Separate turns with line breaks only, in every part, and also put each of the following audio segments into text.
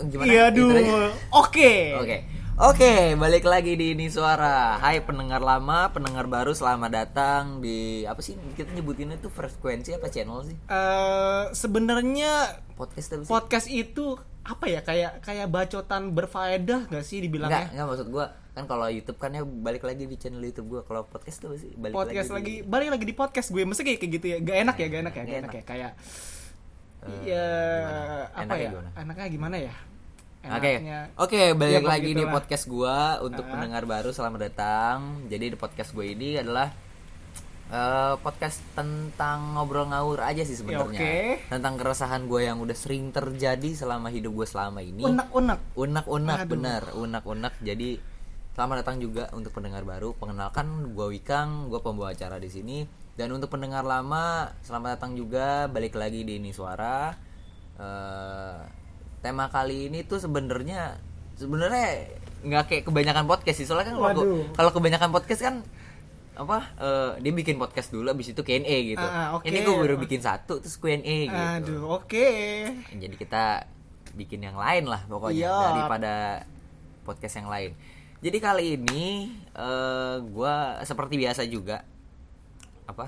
gimana?
Iya
Gitu
aduh.
aja.
Oke.
Oke. Oke, balik lagi di ini suara. Hai pendengar lama, pendengar baru, selamat datang di apa sih kita nyebutinnya tuh frekuensi apa channel sih?
Eh, sebenarnya
Podcast apa sih?
podcast itu apa ya kayak kayak bacotan berfaedah gak sih
Enggak,
dibilangnya?
enggak maksud gua kan kalau YouTube kan ya balik lagi di channel YouTube gua. Kalau podcast tuh apa sih balik
podcast
lagi.
lagi, balik lagi di podcast gue mesti kayak kayak gitu ya gak enak ya gak enak ya gak enak ya kayak ya apa
Enaknya
ya
Eh, gimana?
anaknya gimana ya
Oke, Oh,
enaknya Ah.
oke
Ya,
balik
pokoknya
lagi di
gitulah.
podcast gua untuk pendengar baru selamat datang. Jadi di podcast gue ini adalah eh, podcast tentang ngobrol ngawur aja sih sebenarnya.
Ya, oke.
Tentang keresahan gue yang udah sering terjadi selama hidup gue selama ini.
unek unek
Unak-unak
Aduh.
benar, unak-unak. Jadi selamat datang juga untuk pendengar baru. Pengenalkan gua Wikang, gua pembawa acara di sini. Dan untuk pendengar lama, selamat datang juga balik lagi di ini suara. Eh, tema kali ini tuh sebenarnya sebenarnya nggak kayak kebanyakan podcast sih. Soalnya kan kalau gua-
Waduh.
kalau kebanyakan podcast kan apa eh, dia bikin podcast dulu abis itu Q&A gitu.
Ah, ah, oke. Ah,
Ini gue baru bikin satu terus Q&A gitu
aduh oke
jadi kita bikin yang lain lah pokoknya
Iya.
daripada podcast yang lain jadi kali ini eh gue seperti biasa juga apa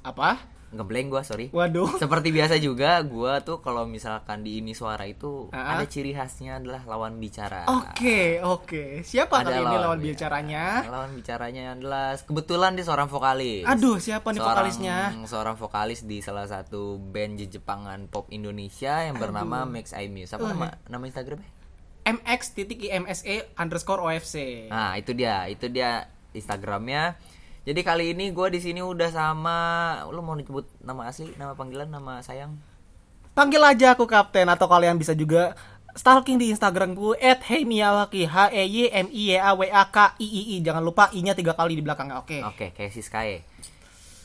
apa
ngeblank gue sorry
waduh
seperti biasa juga gue tuh kalau misalkan di ini suara itu
Ah.
ada ciri khasnya adalah lawan bicara
Oh, Oke, oke. Siapa
Ada
kali ini
lawan
lawan
bicara.
bicaranya?
lawan bicaranya adalah kebetulan dia seorang vokalis
iya? Aduh, siapa nih
Seorang-
vokalisnya?
seorang vokalis di salah satu band Jepangan pop Indonesia yang bernama Max I Muse
Oh,
apa
iya.
nama nama Instagramnya
MX titik E underscore OFC.
Nah, itu dia, itu dia Instagramnya. Jadi kali ini gue di sini udah sama, lu mau nyebut nama asli, nama panggilan, nama sayang.
Panggil aja aku kapten atau kalian bisa juga stalking di Instagramku at heymiyawaki h e y m i y a w a k i i i jangan lupa i-nya tiga kali di belakangnya oke
Oke, kayak Siskae.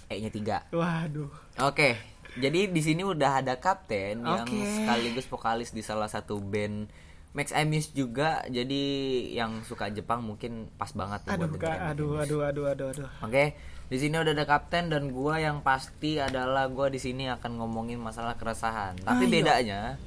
E-nya tiga.
waduh
Oke, jadi di sini udah ada kapten yang
Oke.
sekaligus vokalis di salah satu band Max I Muse juga. Jadi yang suka Jepang mungkin pas banget tuh
aduh
buat
Kak,
dengerin.
aduh aduh aduh aduh aduh
Oke, di sini udah ada kapten dan gua yang pasti adalah gua di sini akan ngomongin masalah keresahan. Tapi bedanya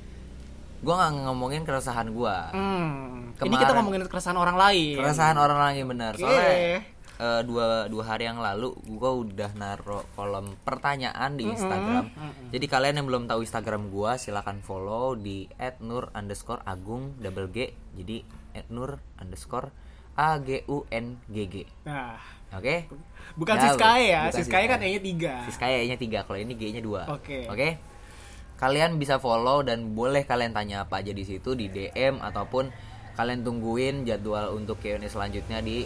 gua nggak ngomongin keresahan gua.
hmm, ini
Kemarin-
kita ngomongin keresahan orang lain
Keresahan orang lain benar.
Oke.
Soalnya eh, dua dua hari yang lalu gua udah naro kolom pertanyaan di Instagram. Jadi kalian yang belum tahu Instagram gua silahkan follow di @nur underscore agung double g. Jadi @nur underscore a g u n g g.
nah
Oke.
bukan
Jauh,
Siskae ya
bukan
Siskae kan
Siskae.
e-nya tiga
Siskae E-nya 3, kalau ini G-nya 2.
Oke.
Kalian bisa follow dan boleh kalian tanya apa aja di situ di DM ataupun kalian tungguin jadwal untuk Q&A selanjutnya di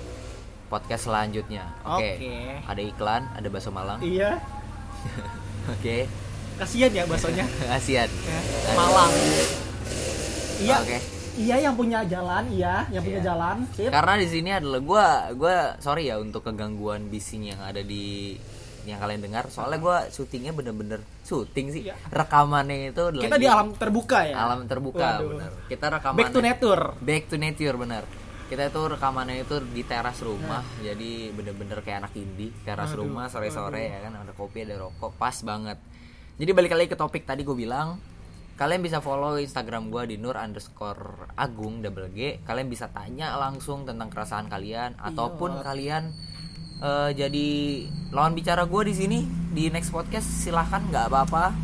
podcast selanjutnya. Oke.
Oke.
Ada iklan, ada bakso Malang. Oke.
iya kasihan ya baksonya
Kasihan.
Ya, Malang iya
Oke.
iya yang punya jalan iya yang punya
Iya.
jalan sip
Karena di sini adalah gua gua sorry ya untuk kegangguan bising yang ada di yang kalian dengar. Soalnya gua syutingnya bener-bener syuting sih.
Iya.
Rekamannya itu
kita di alam terbuka ya
alam ya. terbuka
Waduh.
benar. Kita rekaman
back to nature
Back to nature benar. Kita itu rekamannya itu di teras rumah, jadi bener-bener kayak anak indie, teras rumah sore-sore ya kan ada kopi, ada rokok, pas banget. Jadi balik lagi ke topik tadi gue bilang, kalian bisa follow Instagram gua di nur underscore agung double g. Kalian bisa tanya langsung tentang keresahan kalian ataupun kalian eh, jadi lawan bicara gue di sini di next podcast silahkan nggak apa-apa,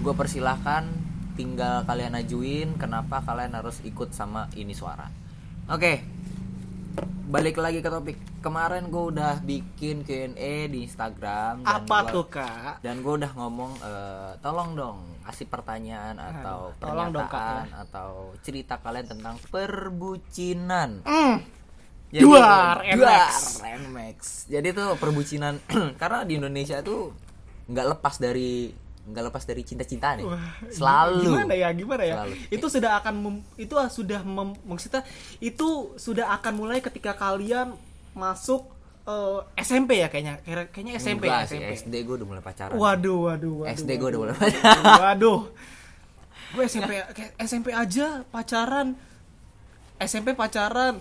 gue persilahkan tinggal kalian ajuin kenapa kalian harus ikut sama ini suara. Oke. Balik lagi ke topik. Kemarin gue udah bikin Q&A di Instagram dan
apa
gua-
tuh kak
Dan gue udah ngomong eh, tolong dong kasih pertanyaan atau
tolong dong, Kak, ya.
pernyataan atau cerita kalian tentang perbucinan. Jadi,
Duar, NMAX.
Ya, gitu. duar, NMAX. Jadi tuh perbucinan karena di Indonesia tuh nggak lepas dari nggak lepas dari cinta-cintaan ya. Selalu.
gimana ya gimana ya
Selalu.
itu sudah akan mem- itu sudah mem- maksudnya itu sudah akan mulai ketika kalian masuk eh, SMP ya kayaknya Kira- kayaknya SMP
Enggak
ya,
sih,
SMP
SD gue udah mulai pacaran.
waduh waduh waduh
SD gue udah mulai pacaran.
waduh, waduh. gue SMP kayak SMP aja pacaran SMP pacaran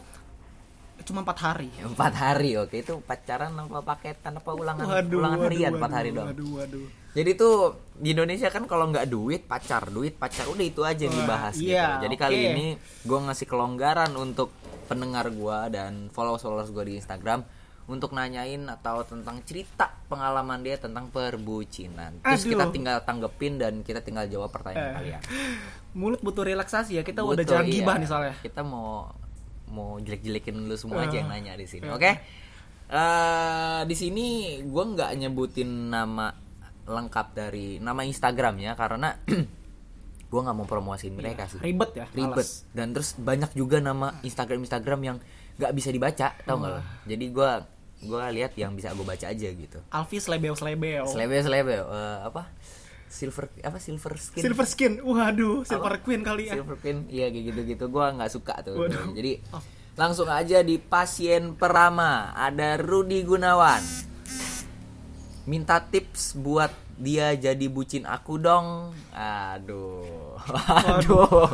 cuma empat hari
empat hari oke itu pacaran apa paketan apa ulangan
Waduh,
ulangan
waduh,
harian
waduh,
empat hari doang Eh,
Waduh, waduh.
jadi tuh di Indonesia kan kalau nggak duit pacar duit pacar udah itu aja yang
Wah,
dibahas
iya,
gitu jadi kali
oke.
ini gue ngasih kelonggaran untuk pendengar gua dan followers followers gue di Instagram untuk nanyain atau tentang cerita pengalaman dia tentang perbucinan terus
Aduh. Eh.
kita tinggal tanggepin dan kita tinggal jawab pertanyaan kalian
Mulut butuh relaksasi ya. Kita
ya.
udah
Betul,
jarang
iya.
gibah nih soalnya.
Kita mau mau jelek-jelekin lu semua aja
Ah,
yang nanya di sini.
iya.
Oke. Eh, di sini gua nggak nyebutin nama lengkap dari nama Instagramnya karena gua nggak mau promosiin mereka sih.
Ribet ya.
Ribet.
males.
Dan terus banyak juga nama Instagram Instagram yang nggak bisa dibaca, tau
Ah.
nggak lo? Jadi gua gua lihat yang bisa gue baca aja gitu.
Alfi selebeo selebeo.
Selebel selebel eh, apa? Silver apa silver skin?
Silver skin. Waduh, Silver Queen kali ya.
Silver Queen, iya kayak gitu-gitu gua nggak suka tuh.
Waduh. Oh.
Jadi langsung aja di pasien perama ada Rudi Gunawan. Minta tips buat dia jadi bucin aku dong. Aduh. Aduh.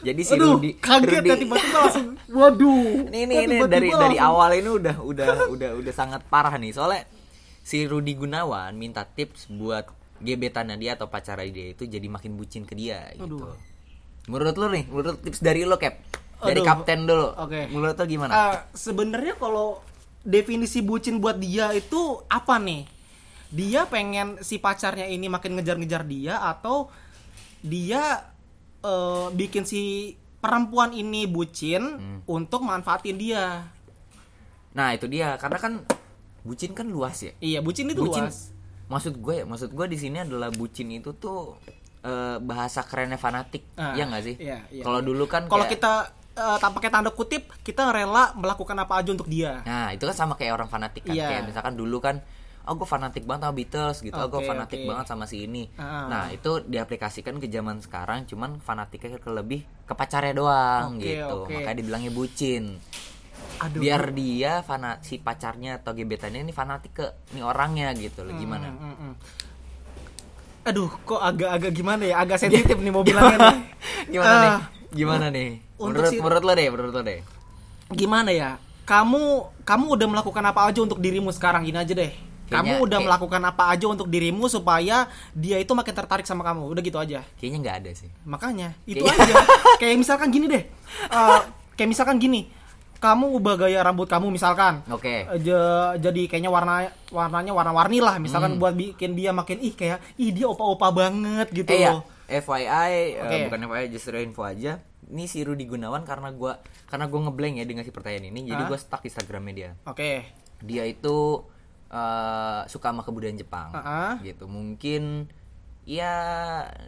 Jadi si
Aduh,
Rudi
kaget ya
Rudi-
tiba-tiba langsung. Waduh.
ini ini, ini
Kan Tiba-tiba
dari dari
langsung.
awal ini udah udah udah udah sangat parah nih soalnya si Rudi Gunawan minta tips buat gebetannya dia atau pacarnya dia itu jadi makin bucin ke dia gitu.
Aduh.
Menurut lu nih, menurut tips dari lu Cap, dari
Aduh.
kapten dulu.
Oke.
Menurut lu gimana?
Eh, sebenarnya kalau definisi bucin buat dia itu apa nih? Dia pengen si pacarnya ini makin ngejar-ngejar dia atau dia eh, bikin si perempuan ini bucin
Hmm.
untuk manfaatin dia.
Nah, itu dia karena kan bucin kan luas ya.
Iya, bucin itu
bucin
luas.
maksud gue ya, maksud gue di sini adalah bucin itu tuh eh, bahasa kerennya fanatik,
Ah,
Iya nggak sih?
iya, iya.
Kalau dulu kan
Kalau
kayak-
kita eh, tak pakai tanda kutip, kita rela melakukan apa aja untuk dia.
Nah itu kan sama kayak orang fanatik kan
Iya.
Kayak misalkan dulu kan Oh gue fanatik banget sama Beatles gitu Oh gue
Oke,
fanatik
oke.
banget sama si ini
Ah.
Nah itu diaplikasikan ke zaman sekarang Cuman fanatiknya ke lebih ke pacarnya doang
Oke,
gitu
oke.
Makanya dibilangnya bucin
Aduh.
Biar dia fana, si pacarnya atau gebetannya ini fanatik ke ini orangnya gitu loh Gimana?
Mm, mm, mm. Aduh, kok agak-agak gimana ya? Agak sensitif nih mau bilangnya nih.
Gimana nih?
Ah.
Gimana nih?
Untuk
Menurut,
si-
menurut lo deh, menurut lo deh
gimana ya kamu kamu udah melakukan apa aja untuk dirimu sekarang gini aja deh kamu
Kayaknya-
udah
kayak-
melakukan apa aja untuk dirimu supaya dia itu makin tertarik sama kamu udah gitu aja
Kayaknya nggak ada sih
makanya itu
Kayak-
aja kayak misalkan gini deh Eh, kayak misalkan gini kamu ubah gaya rambut kamu misalkan
Oke
Eh, je- jadi kayaknya warna warnanya warna-warni lah
Hmm.
misalkan buat bikin dia makin ih kayak ih dia opa-opa banget gitu
Eh ya,
loh
FYI, eh,
Oke.
bukan FYI, justru info aja. Ini si Rudi Gunawan karena gua karena gua ngeblank ya dengan si pertanyaan ini, jadi
Hah?
gua stuck Instagramnya dia.
oke
Dia itu eh, suka sama kebudayaan Jepang,
Ah-ah.
gitu. Mungkin ya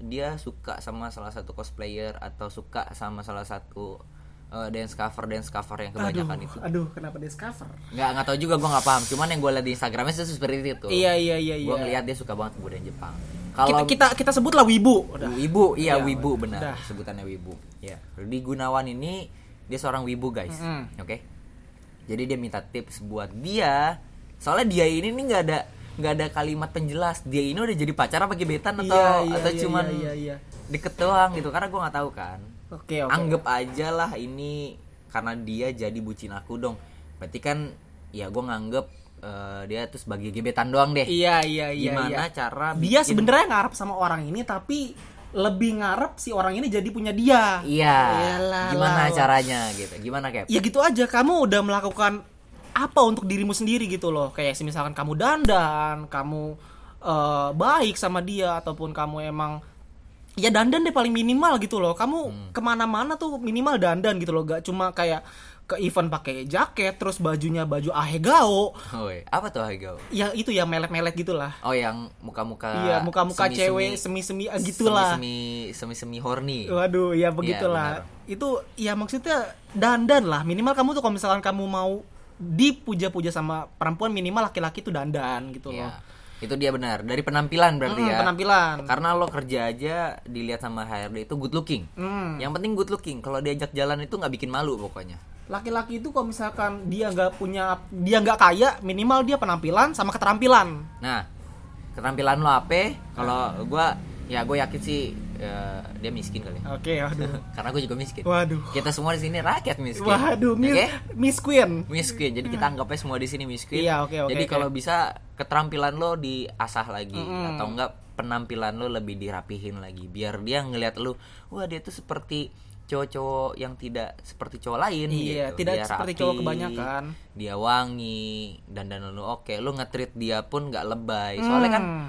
dia suka sama salah satu cosplayer atau suka sama salah satu eh, dance cover dance cover yang kebanyakan itu.
aduh kenapa discover
Nggak nggak tahu juga gua nggak paham. Cuman yang gua lihat di Instagramnya sih seperti itu.
iya iya iya iya
Gua ngeliat dia suka banget kebudayaan Jepang.
kita
Kalau
kita kita sebutlah wibu udah
Wibu, iya
Iya,
Wibu
udah.
benar
Udah.
sebutannya Wibu. Ya. Rudi Gunawan ini dia seorang Wibu guys,
Mm-mm.
oke? Jadi dia minta tips buat dia. Soalnya dia ini nih nggak ada nggak ada kalimat penjelas. Dia ini udah jadi pacar apa gebetan atau
Iya, iya,
atau
iya,
cuman
iya, iya.
deket doang gitu? Karena gua nggak tahu kan.
Oke, oke.
Anggap aja lah ini karena dia jadi bucin aku dong. Berarti kan ya gua nganggep eh, dia tuh sebagai gebetan doang deh.
Iya, iya, iya.
Gimana
iya.
cara
Dia
bikin-
sebenarnya ngarep sama orang ini tapi lebih ngarep si orang ini jadi punya dia.
Iya.
Iyalah,
Gimana
lah.
caranya gitu? Gimana kayak?
Ya gitu aja, kamu udah melakukan apa untuk dirimu sendiri gitu loh. Kayak misalkan kamu dandan, kamu eh, baik sama dia ataupun kamu emang ya dandan deh paling minimal gitu loh.
Hmm.
Kamu kemana-mana tuh minimal dandan gitu loh, gak cuma kayak ke event pakai jaket, terus bajunya baju ahegao.
Woi, apa tuh Haigao?
Ya itu ya melet-melet gitulah.
Oh yang muka-muka
Iya, muka-muka
semi-semi-
cewek semi-semi ah, gitulah.
Semi-semi Iya, semi-semi horny.
Waduh, ya begitulah. itu ya maksudnya dandan lah. Minimal kamu tuh kalau misalkan kamu mau dipuja-puja sama perempuan minimal laki-laki tuh dandan gitu loh.
Iya. Itu dia benar. Dari penampilan berarti
Hmm,
ya.
penampilan.
Karena lo kerja aja dilihat sama HRD itu good looking.
Hmm.
Yang penting good looking. Kalau diajak jalan itu nggak bikin malu pokoknya.
Laki-laki itu kalau misalkan dia nggak punya dia nggak kaya, minimal dia penampilan sama keterampilan.
Nah, ketampilan lo apa? Kalau gua ya gue yakin sih eh, dia miskin kali. ya.
Oke, waduh.
Karena gue juga miskin.
Waduh.
Kita semua di sini rakyat miskin.
Waduh, Miss,
Oke?
Miss Queen.
miskin. Jadi kita anggapnya semua di sini miskin.
Iya, oke, oke,
Jadi
oke.
kalau bisa keterampilan lo diasah lagi atau enggak penampilan lo lebih dirapihin lagi biar dia ngelihat lo, wah dia tuh seperti cowok-cowok yang tidak seperti cowok lain
Iya,
gitu.
tidak seperti cowok kebanyakan.
Dia wangi, dandan lo oke, lo nge-treat dia pun nggak lebay. Soalnya kan
Hmm.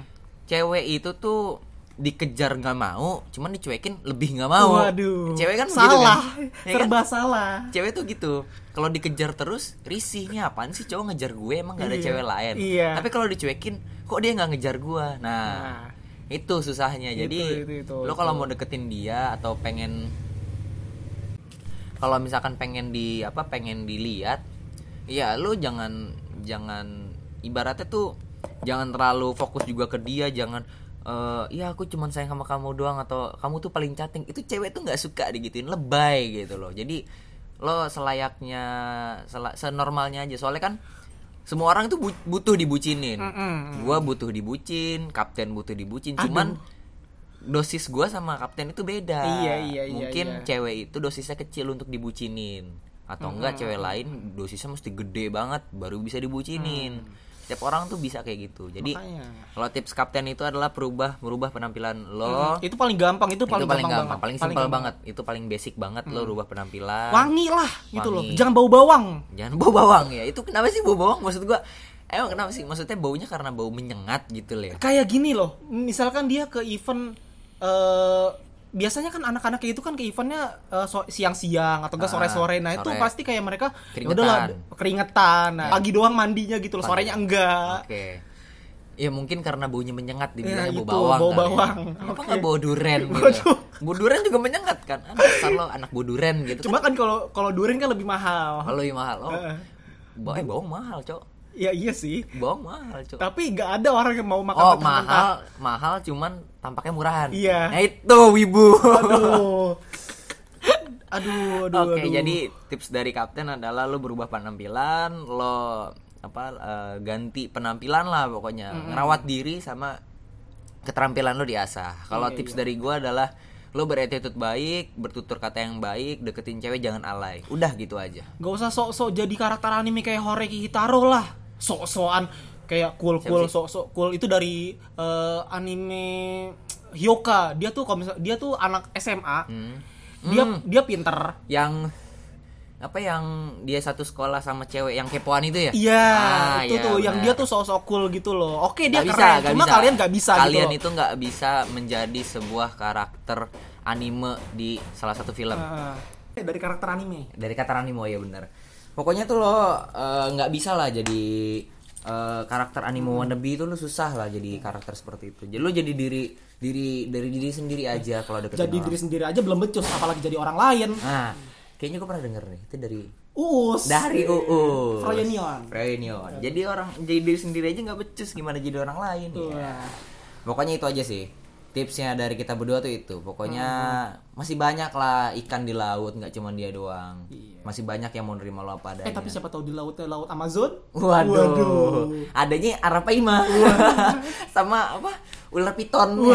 cewek itu tuh dikejar nggak mau, cuman dicuekin lebih nggak mau.
Hmm. Waduh.
Cewek kan begitu
salah,
kan? Ya kan?
serba salah.
cewek tuh gitu kalau dikejar terus risihnya apaan sih cowok ngejar gue emang gak ada
Iya.
cewek lain
Iya.
tapi kalau dicuekin kok dia nggak ngejar gue nah,
Nah.
itu susahnya jadi
Itu, itu, itu,
lo kalau mau deketin dia atau pengen kalau misalkan pengen di apa pengen dilihat ya lo jangan jangan ibaratnya tuh jangan terlalu fokus juga ke dia jangan eh ya aku cuman sayang sama kamu doang atau kamu tuh paling cantik itu cewek tuh nggak suka digituin lebay gitu loh jadi lo selayaknya sela- senormalnya aja soalnya kan semua orang tuh bu- butuh dibucinin
Mm-mm.
gua butuh dibucin kapten butuh dibucin cuman dosis gua sama kapten itu beda
Iya, iya, iya,
mungkin
iya. Hmm,
cewek itu dosisnya kecil untuk dibucinin atau enggak cewek lain dosisnya mesti gede banget baru bisa dibucinin tiap orang tuh bisa kayak gitu jadi
Hmm. Makanya.
kalau tips kapten itu adalah perubah merubah penampilan lo
Oh. Hmm, Itu paling gampang, itu
itu paling,
paling, gampang,
gampang,
Hmm. banget.
paling simpel banget itu paling basic banget lo rubah penampilan
Wangi lah gitu loh.
Wangi.
Jangan bau bawang.
jangan bau bawang ya itu kenapa sih bau bawang maksud gua emang kenapa sih maksudnya baunya karena bau menyengat gitu loh ya
Kayak gini loh. Misalkan dia ke event eh biasanya kan anak-anak kayak itu kan ke eventnya eh, so- siang-siang atau enggak
Ah,
sore-sore. Nah, itu
sore.
pasti kayak mereka ya
Keringetan.
udahlah keringetan. Nah,
Ya.
pagi doang mandinya gitu loh,
Pagi.
sorenya enggak.
Oke. Ya mungkin karena baunya menyengat
Ya,
dibilangnya bau
itu,
bawang. kali
bau
ya.
bawang.
Kenapa
Oke.
nggak bau duren gitu?
Waduh.
Bau duren juga menyengat kan? Ah, dasar lo anak bau duren gitu.
Cuma kan kalau kalau durian kan lebih mahal.
Kalau yang mahal, oh.
Heeh.
Ba- eh, bawang mahal, Cok.
Ya iya sih.
Bawang mahal, Cok.
Tapi nggak ada orang yang mau makan
Oh,
mentah-mentah.
mahal, mahal cuman tampaknya murahan.
Iya.
Nah, itu wibu.
Aduh. Aduh, aduh,
Oke,
aduh.
jadi tips dari kapten adalah lo berubah penampilan, lo apa eh, ganti penampilan lah pokoknya, ngerawat diri sama keterampilan lo diasah. Kalau
Iya,
tips dari gua adalah lo beretitut baik, bertutur kata yang baik, deketin cewek jangan alay. Udah gitu aja.
Gak usah sok-sok jadi karakter anime kayak Horeki Hitaro lah. Sok-sokan kayak cool-cool, sok-sok cool itu dari eh, anime Hyoka. Dia tuh kalau misal- dia tuh anak SMA.
Hmm.
Dia dia pinter.
Yang apa yang dia satu sekolah sama cewek yang kepoan itu ya?
Iya,
Ah,
itu
iya,
tuh yang
benar.
dia tuh sok-sok cool gitu loh. Oke, dia
Nggak
keren.
nggak
Cuma
bisa.
kalian gak bisa
kalian
gitu.
itu nggak bisa menjadi sebuah karakter anime di salah satu film
Ah, dari karakter anime.
dari kata anime ya bener pokoknya tuh lo eh, nggak bisa lah jadi eh, karakter
Hmm.
anime wannabe itu lo susah lah jadi karakter seperti itu jadi lo jadi diri diri dari diri sendiri aja kalau deketin
Jadi
orang.
diri sendiri aja belum becus apalagi jadi orang lain.
nah kayaknya gue pernah denger nih itu dari
Uus.
dari UU
Froyonion.
Reunion. Jadi orang jadi diri sendiri aja nggak becus gimana jadi orang lain.
Iya.
ya. Pokoknya itu aja sih. Tipsnya dari kita berdua tuh itu. Pokoknya
Hmm.
masih banyak lah ikan di laut nggak cuma dia doang. Masih banyak yang mau nerima lo apa adanya.
Iya. Eh tapi siapa tahu di lautnya laut Amazon?
Waduh.
Waduh.
Adanya arapaima. Sama apa? Ular piton.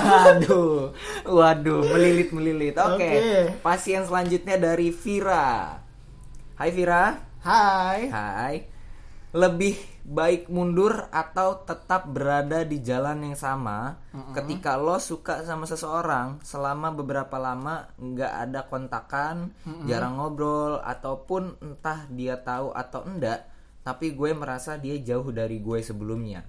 Waduh. Waduh, melilit-melilit. Oke.
Oke.
Pasien selanjutnya dari Vira. Hai Vira.
Hai.
Eh. Hai. Lebih baik mundur atau tetap berada di jalan yang sama ketika lo suka sama seseorang selama beberapa lama nggak ada kontakan, jarang ngobrol ataupun entah dia tahu atau enggak, tapi gue merasa dia jauh dari gue sebelumnya.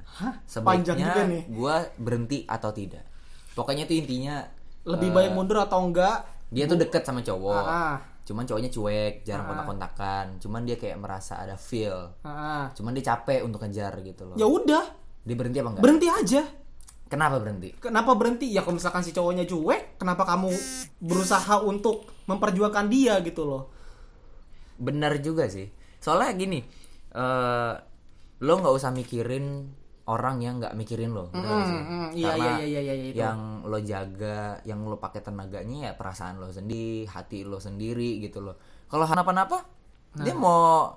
Panjang juga nih.
Sebaiknya gue berhenti atau tidak. Pokoknya tuh intinya
Lebih
Eh.
baik mundur atau enggak?
dia tuh deket sama cowok.
Ah.
Cuman cowoknya cuek, jarang kontak-kontakan. Cuman dia kayak merasa ada feel
Ah.
cuman dia capek untuk ngejar gitu loh
Ya udah,
dia berhenti apa enggak
berhenti aja.
kenapa berhenti
Kenapa berhenti? Ya kalau misalkan si cowoknya cuek, kenapa kamu berusaha untuk memperjuangkan dia gitu loh?
benar juga sih soalnya gini eh lo nggak usah mikirin orang yang nggak mikirin lo bener nggak sih?
mm, iya,
Karena
iya, iya, iya, iya, itu.
yang lo jaga yang lo pakai tenaganya ya perasaan lo sendiri hati lo sendiri gitu loh kalau kenapa-napa dia mau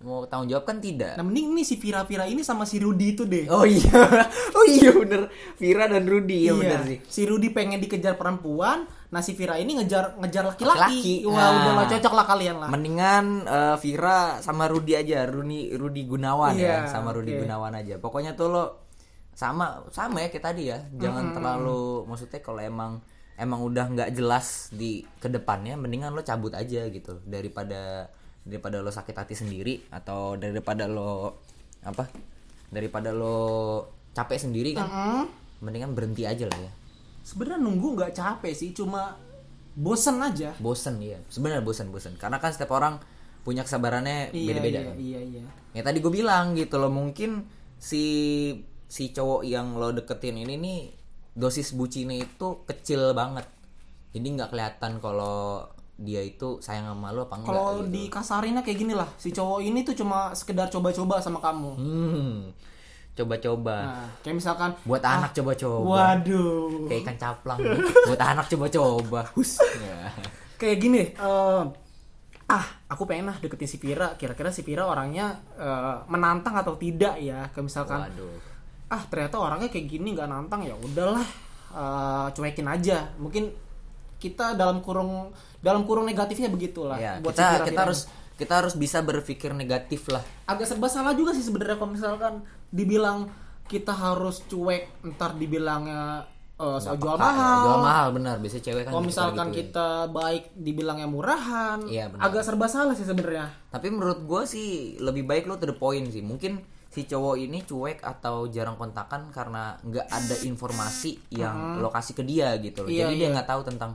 mau tanggung jawab kan tidak
Nah mending nih si Vira-Vira ini sama si Rudy itu deh.
oh iya oh iya bener Vira dan Rudy iya, bener sih
Si Rudy pengen dikejar perempuan, nah si Vira ini ngejar ngejar
Laki-laki.
laki-laki. Wah
Nah.
udahlah cocok lah kalian lah.
mendingan eh, Vira sama Rudi aja Rudi Rudi Gunawan ya
Iya,
sama Rudi
oke.
Gunawan aja pokoknya tuh lo sama sama ya kayak tadi ya jangan terlalu maksudnya kalau emang emang udah nggak jelas di kedepannya mendingan lo cabut aja gitu daripada daripada lo sakit hati sendiri atau daripada lo apa daripada lo capek sendiri kan
Hmm.
mendingan berhenti aja lah ya
Sebenarnya nunggu nggak capek sih, cuma bosen aja.
bosen ya sebenarnya bosen bosen karena kan setiap orang punya kesabarannya
Iya,
beda-beda
Iya,
kan.
iya, iya.
ya tadi gue bilang gitu loh mungkin si si cowok yang lo deketin ini nih dosis bucinnya itu kecil banget jadi nggak kelihatan kalau dia itu sayang sama lo apa enggak
Kalau
gitu.
dikasarinnya kayak gini lah, si cowok ini tuh cuma sekedar coba-coba sama kamu.
hmm coba-coba
Nah, kayak misalkan,
buat anak coba-coba
waduh,
kayak ikan caplang gitu. buat anak coba-coba hus Ya.
kayak gini eh, ah aku pengen lah deketin si Pira kira-kira si Pira orangnya eh, menantang atau tidak ya kayak misalkan
waduh
ah ternyata orangnya kayak gini nggak nantang ya udahlah eh, cuekin aja mungkin kita dalam kurung dalam kurung negatifnya begitulah
ya
Nah, buat si
kita
Pira-Pira
kita
ini.
harus kita harus bisa berpikir negatif lah
agak serba salah juga sih sebenarnya kalau misalkan dibilang kita harus cuek ntar dibilangnya eh, soal jual
Ka-
mahal
jual mahal benar biasanya cewek kan
kalau
gitu-gitu
misalkan
gitu ya.
kita baik dibilangnya murahan
Iya, benar.
agak serba salah sih sebenarnya
Tapi menurut gue sih lebih baik lo to the point sih. Mungkin si cowok ini cuek atau jarang kontakan karena nggak ada informasi yang lo kasih ke dia gitu loh.
Hmm. Iya,
Jadi dia
iya.
nggak tahu tentang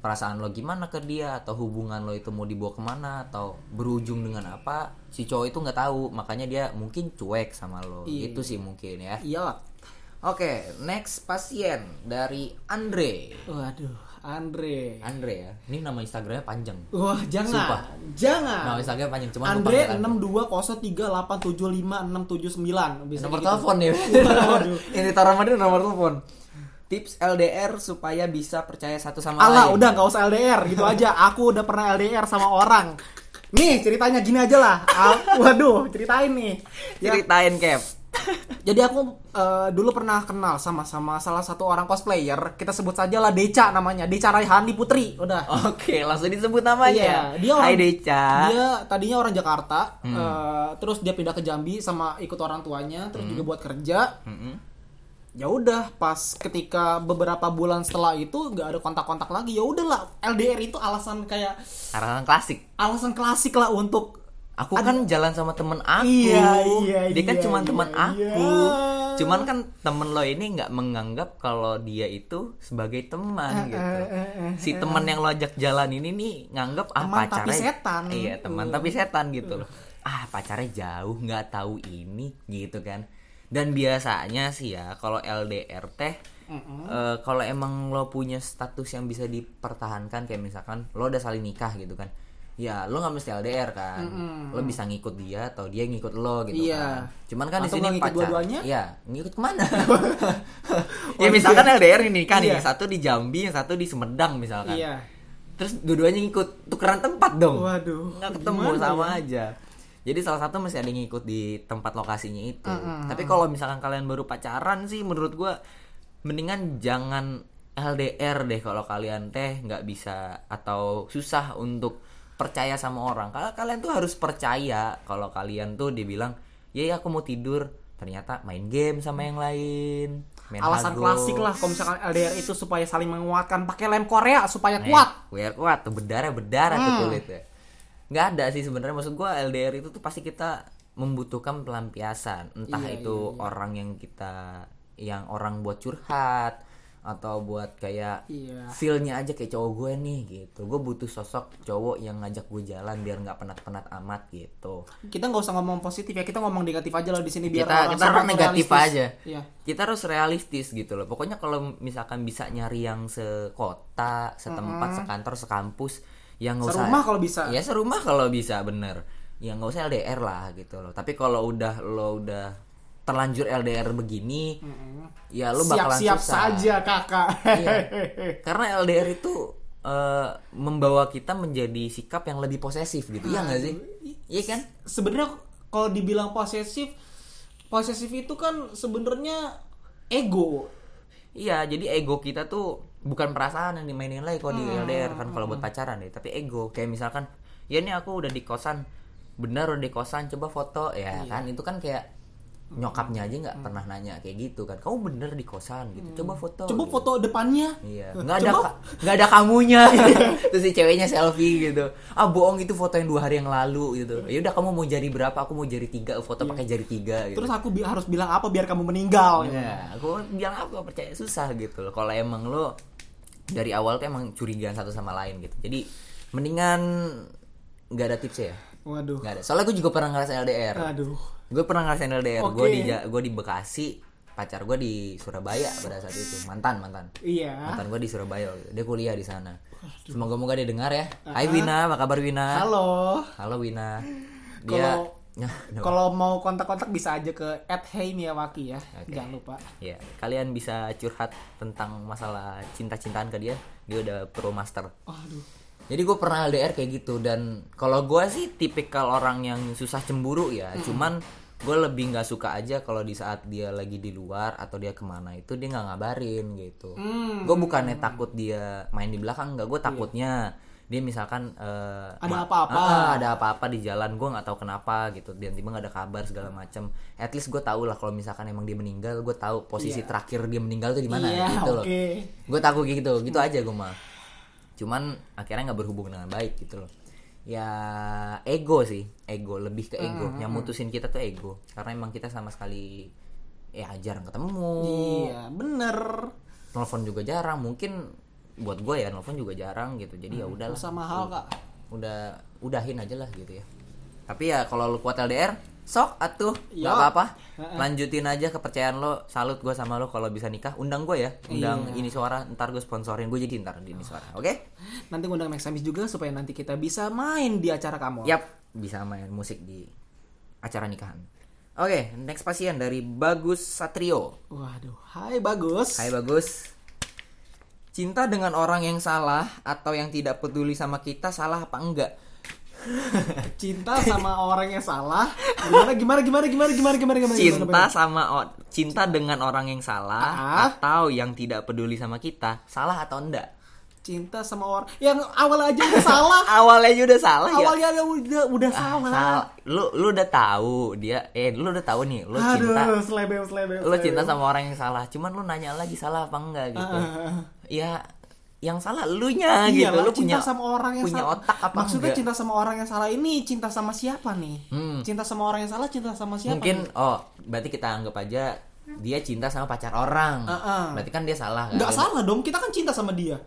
perasaan lo gimana ke dia atau hubungan lo itu mau dibawa kemana atau berujung dengan apa si cowok itu nggak tahu makanya dia mungkin cuek sama lo
Iya.
itu sih mungkin ya
Iya.
oke next pasien dari Andre
Waduh, Andre.
Andre ya ini nama Instagramnya panjang
Wah, jangan.
Sumpah.
Jangan.
nama Instagramnya panjang cuman gua
Andre
panggil
620387569 bisa
nomor
kayak gitu.
telepon ya
Waduh.
ini taruh mana nomor telepon tips LDR supaya bisa percaya satu sama
Alah,
lain
udah nggak usah LDR gitu aja. Aku udah pernah LDR sama orang. Nih, ceritanya gini aja lah. Ah, Waduh, ceritain nih. Ya,
ceritain Kev
Jadi aku eh, dulu pernah kenal sama-sama salah satu orang cosplayer. Kita sebut saja lah Deca namanya. Deca Raihani Putri. Udah.
oke langsung disebut namanya
Iya, dia orang,
Oh, Hai Deca Hmm.
Dia tadinya orang Jakarta, eh, terus dia pindah ke Jambi sama ikut orang tuanya, terus
Hmm.
juga buat kerja.
Mm-mm.
Ya udah, pas ketika beberapa bulan setelah itu nggak ada kontak-kontak lagi. Ya udahlah, LDR itu alasan kayak
arahan klasik
alasan klasik lah untuk
aku kan jalan sama temen aku
Iya, iya,
dia kan
iya,
cuman temen
iya,
aku
iya.
cuman kan temen lo ini nggak menganggap kalau dia itu sebagai
Eh,
teman gitu si teman yang lo ajak jalan ini nih nganggap ah
Teman tapi
pacarnya
setan.
iya teman tapi setan gitu loh ah pacarnya jauh nggak tahu ini gitu kan dan biasanya sih ya kalau LDR teh eh, kalau emang lo punya status yang bisa dipertahankan kayak misalkan lo udah saling nikah gitu kan ya lo nggak mesti LDR kan lo bisa ngikut dia atau dia ngikut lo gitu
Iya.
kan cuman kan di
Atau
sini
nggak ngikut
pacar
dua-duanya?
ya ngikut kemana ya misalkan LDR ini kan
Iya.
yang satu di Jambi yang satu di Sumedang misalkan
Iya.
terus dua-duanya ngikut tukeran tempat dong Iya.
Waduh.
nggak ketemu
gimana
sama
ya?
aja jadi salah satu masih ada yang ngikut di tempat lokasinya itu tapi kalau misalkan kalian baru pacaran sih menurut gua mendingan jangan LDR deh kalau kalian teh nggak bisa atau susah untuk percaya sama orang kalau kalian tuh harus percaya kalau kalian tuh dibilang ya ya aku mau tidur ternyata main game sama yang lain main
Alasan
hago.
klasik lah kalau misalkan LDR itu supaya saling menguatkan. Pakai lem Korea supaya
Nih,
kuat. Hmm.
biar Eh, kuat tuh berdarah berdarah tuh kulitnya. Nggak ada sih sebenarnya maksud gua LDR itu tuh pasti kita membutuhkan pelampiasan. Entah
Iya,
itu orang yang kita yang orang buat curhat atau buat kayak
Iya.
feelnya aja kayak cowok gue nih gitu. Gue butuh sosok cowok yang ngajak gue jalan biar nggak penat-penat amat gitu.
Iya. Kita nggak usah ngomong positif ya, kita ngomong negatif aja lah di sini biar
Kita-
orang
kita orang
semakin
negatif
realistis.
aja.
Iya.
kita harus realistis gitu loh pokoknya kalau misalkan bisa nyari yang sekota setempat sekantor sekampus yang nggak usah
Serumah kalau bisa.
ya serumah kalau bisa bener ya nggak usah LDR lah gitu loh tapi kalau udah lo udah terlanjur LDR begini ya lo bakalan
Siap-siap
susah
saja kakak.
Iya. karena LDR itu eh, membawa kita menjadi sikap yang lebih posesif gitu ya nggak sih iya kan
Sebenarnya kalau dibilang posesif posesif itu kan sebenarnya ego
Iya, jadi ego kita tuh bukan perasaan yang dimainin lagi kalau di LDR kan kalau buat pacaran deh, tapi ego. Kayak misalkan, ya ini aku udah di kosan, benar udah di kosan, coba foto ya kan, itu kan kayak nyokapnya aja nggak pernah nanya kayak gitu kan. Kamu bener di kosan gitu, coba foto.
coba
gitu.
foto depannya
Iya, nggak ada ka- nggak ada kamunya. gitu. Terus si ceweknya selfie gitu. Ah bohong itu foto yang dua hari yang lalu gitu. Ya udah kamu mau jari berapa? Aku mau jari tiga. Foto pakai jari tiga. Gitu.
terus aku bi- harus bilang apa biar kamu meninggal
Nah, aku bilang aku percaya susah gitu loh. Kalau emang lo dari awal tuh emang curigaan satu sama lain gitu. Jadi mendingan nggak ada tipsnya ya.
waduh
Nggak ada. Soalnya gue juga pernah ngerasain LDR.
aduh
Gue pernah ngerasain LDR. Gue
Oke.
di Ja- gue di Bekasi, pacar gue di Surabaya pada saat itu. Mantan, mantan.
iya
Mantan gue di Surabaya. waktu itu. Dia kuliah di sana. Semoga-moga dia dengar ya. Hai Wina, apa kabar Wina?
halo
Halo Wina. Dia Nah,
Kalau- kalau mau kontak-kontak bisa aja ke at hey Miyawaki ya
Oke.
jangan lupa
Ya, kalian bisa curhat tentang masalah cinta-cintaan ke dia. Dia udah pro master.
waduh
Jadi gue pernah LDR kayak gitu dan kalau gue sih tipikal orang yang susah cemburu ya.
Hmm.
Cuman gue lebih nggak suka aja kalau di saat dia lagi di luar atau dia kemana itu dia nggak ngabarin gitu.
Hmm. Iya.
Gue bukannya takut dia main di belakang nggak, gue takutnya dia misalkan eh,
Ada
ma-
apa-apa.
Ah, ada apa-apa di jalan gue nggak tahu kenapa gitu. Dan tiba nggak ada kabar segala macam. At least gue tahu lah kalau misalkan emang dia meninggal, gue tahu posisi terakhir dia meninggal tuh di mana
iya
gitu loh
oke
gue takut kayak gitu gitu aja gue mah cuman akhirnya nggak berhubung dengan baik gitu loh ya ego sih ego lebih ke ego yang mutusin kita tuh ego karena emang kita sama sekali ya jarang ketemu
iya bener
telepon juga jarang mungkin buat gue ya telepon juga jarang gitu jadi ya udahlah
sama hal kak
udah udahin aja lah gitu ya tapi ya kalau lu kuat LDR sok atuh nggak
Yo.
apa-apa lanjutin aja kepercayaan lo salut gue sama lo kalau bisa nikah undang gue ya undang ini suara ntar gue sponsorin gue jadi ntar di ini suara oke
nanti ngundang Max Samis juga supaya nanti kita bisa main di acara kamu
yap bisa main musik di acara nikahan oke next pasien dari bagus satrio
waduh hai bagus
hai bagus cinta dengan orang yang salah atau yang tidak peduli sama kita salah apa enggak
cinta sama orang yang salah gimana gimana gimana gimana gimana gimana gimana
cinta
gimana,
sama o- cinta dengan orang yang salah
Ah.
atau yang tidak peduli sama kita salah atau enggak
gimana? cinta sama orang yang awal aja udah salah
awalnya juga udah salah ya
awalnya udah udah, udah salah
salah lu lu udah tahu dia eh lu udah tahu nih lu
aduh
cinta
selebem selebem
lu cinta sama orang yang salah cuman lu nanya lagi salah apa enggak
Ah,
gitu ya yang salah elunya
Iya,
gitu lu
cinta
punya
sama orang yang
punya
salah.
otak apa
Maksudnya
enggak?
cinta sama orang yang salah ini cinta sama siapa nih?
Hmm.
Cinta sama orang yang salah, cinta sama siapa?
mungkin
nih?
oh berarti kita anggap aja dia cinta sama pacar orang
Ah, ah.
berarti kan dia salah kan
nggak salah dong. Kita kan cinta sama dia.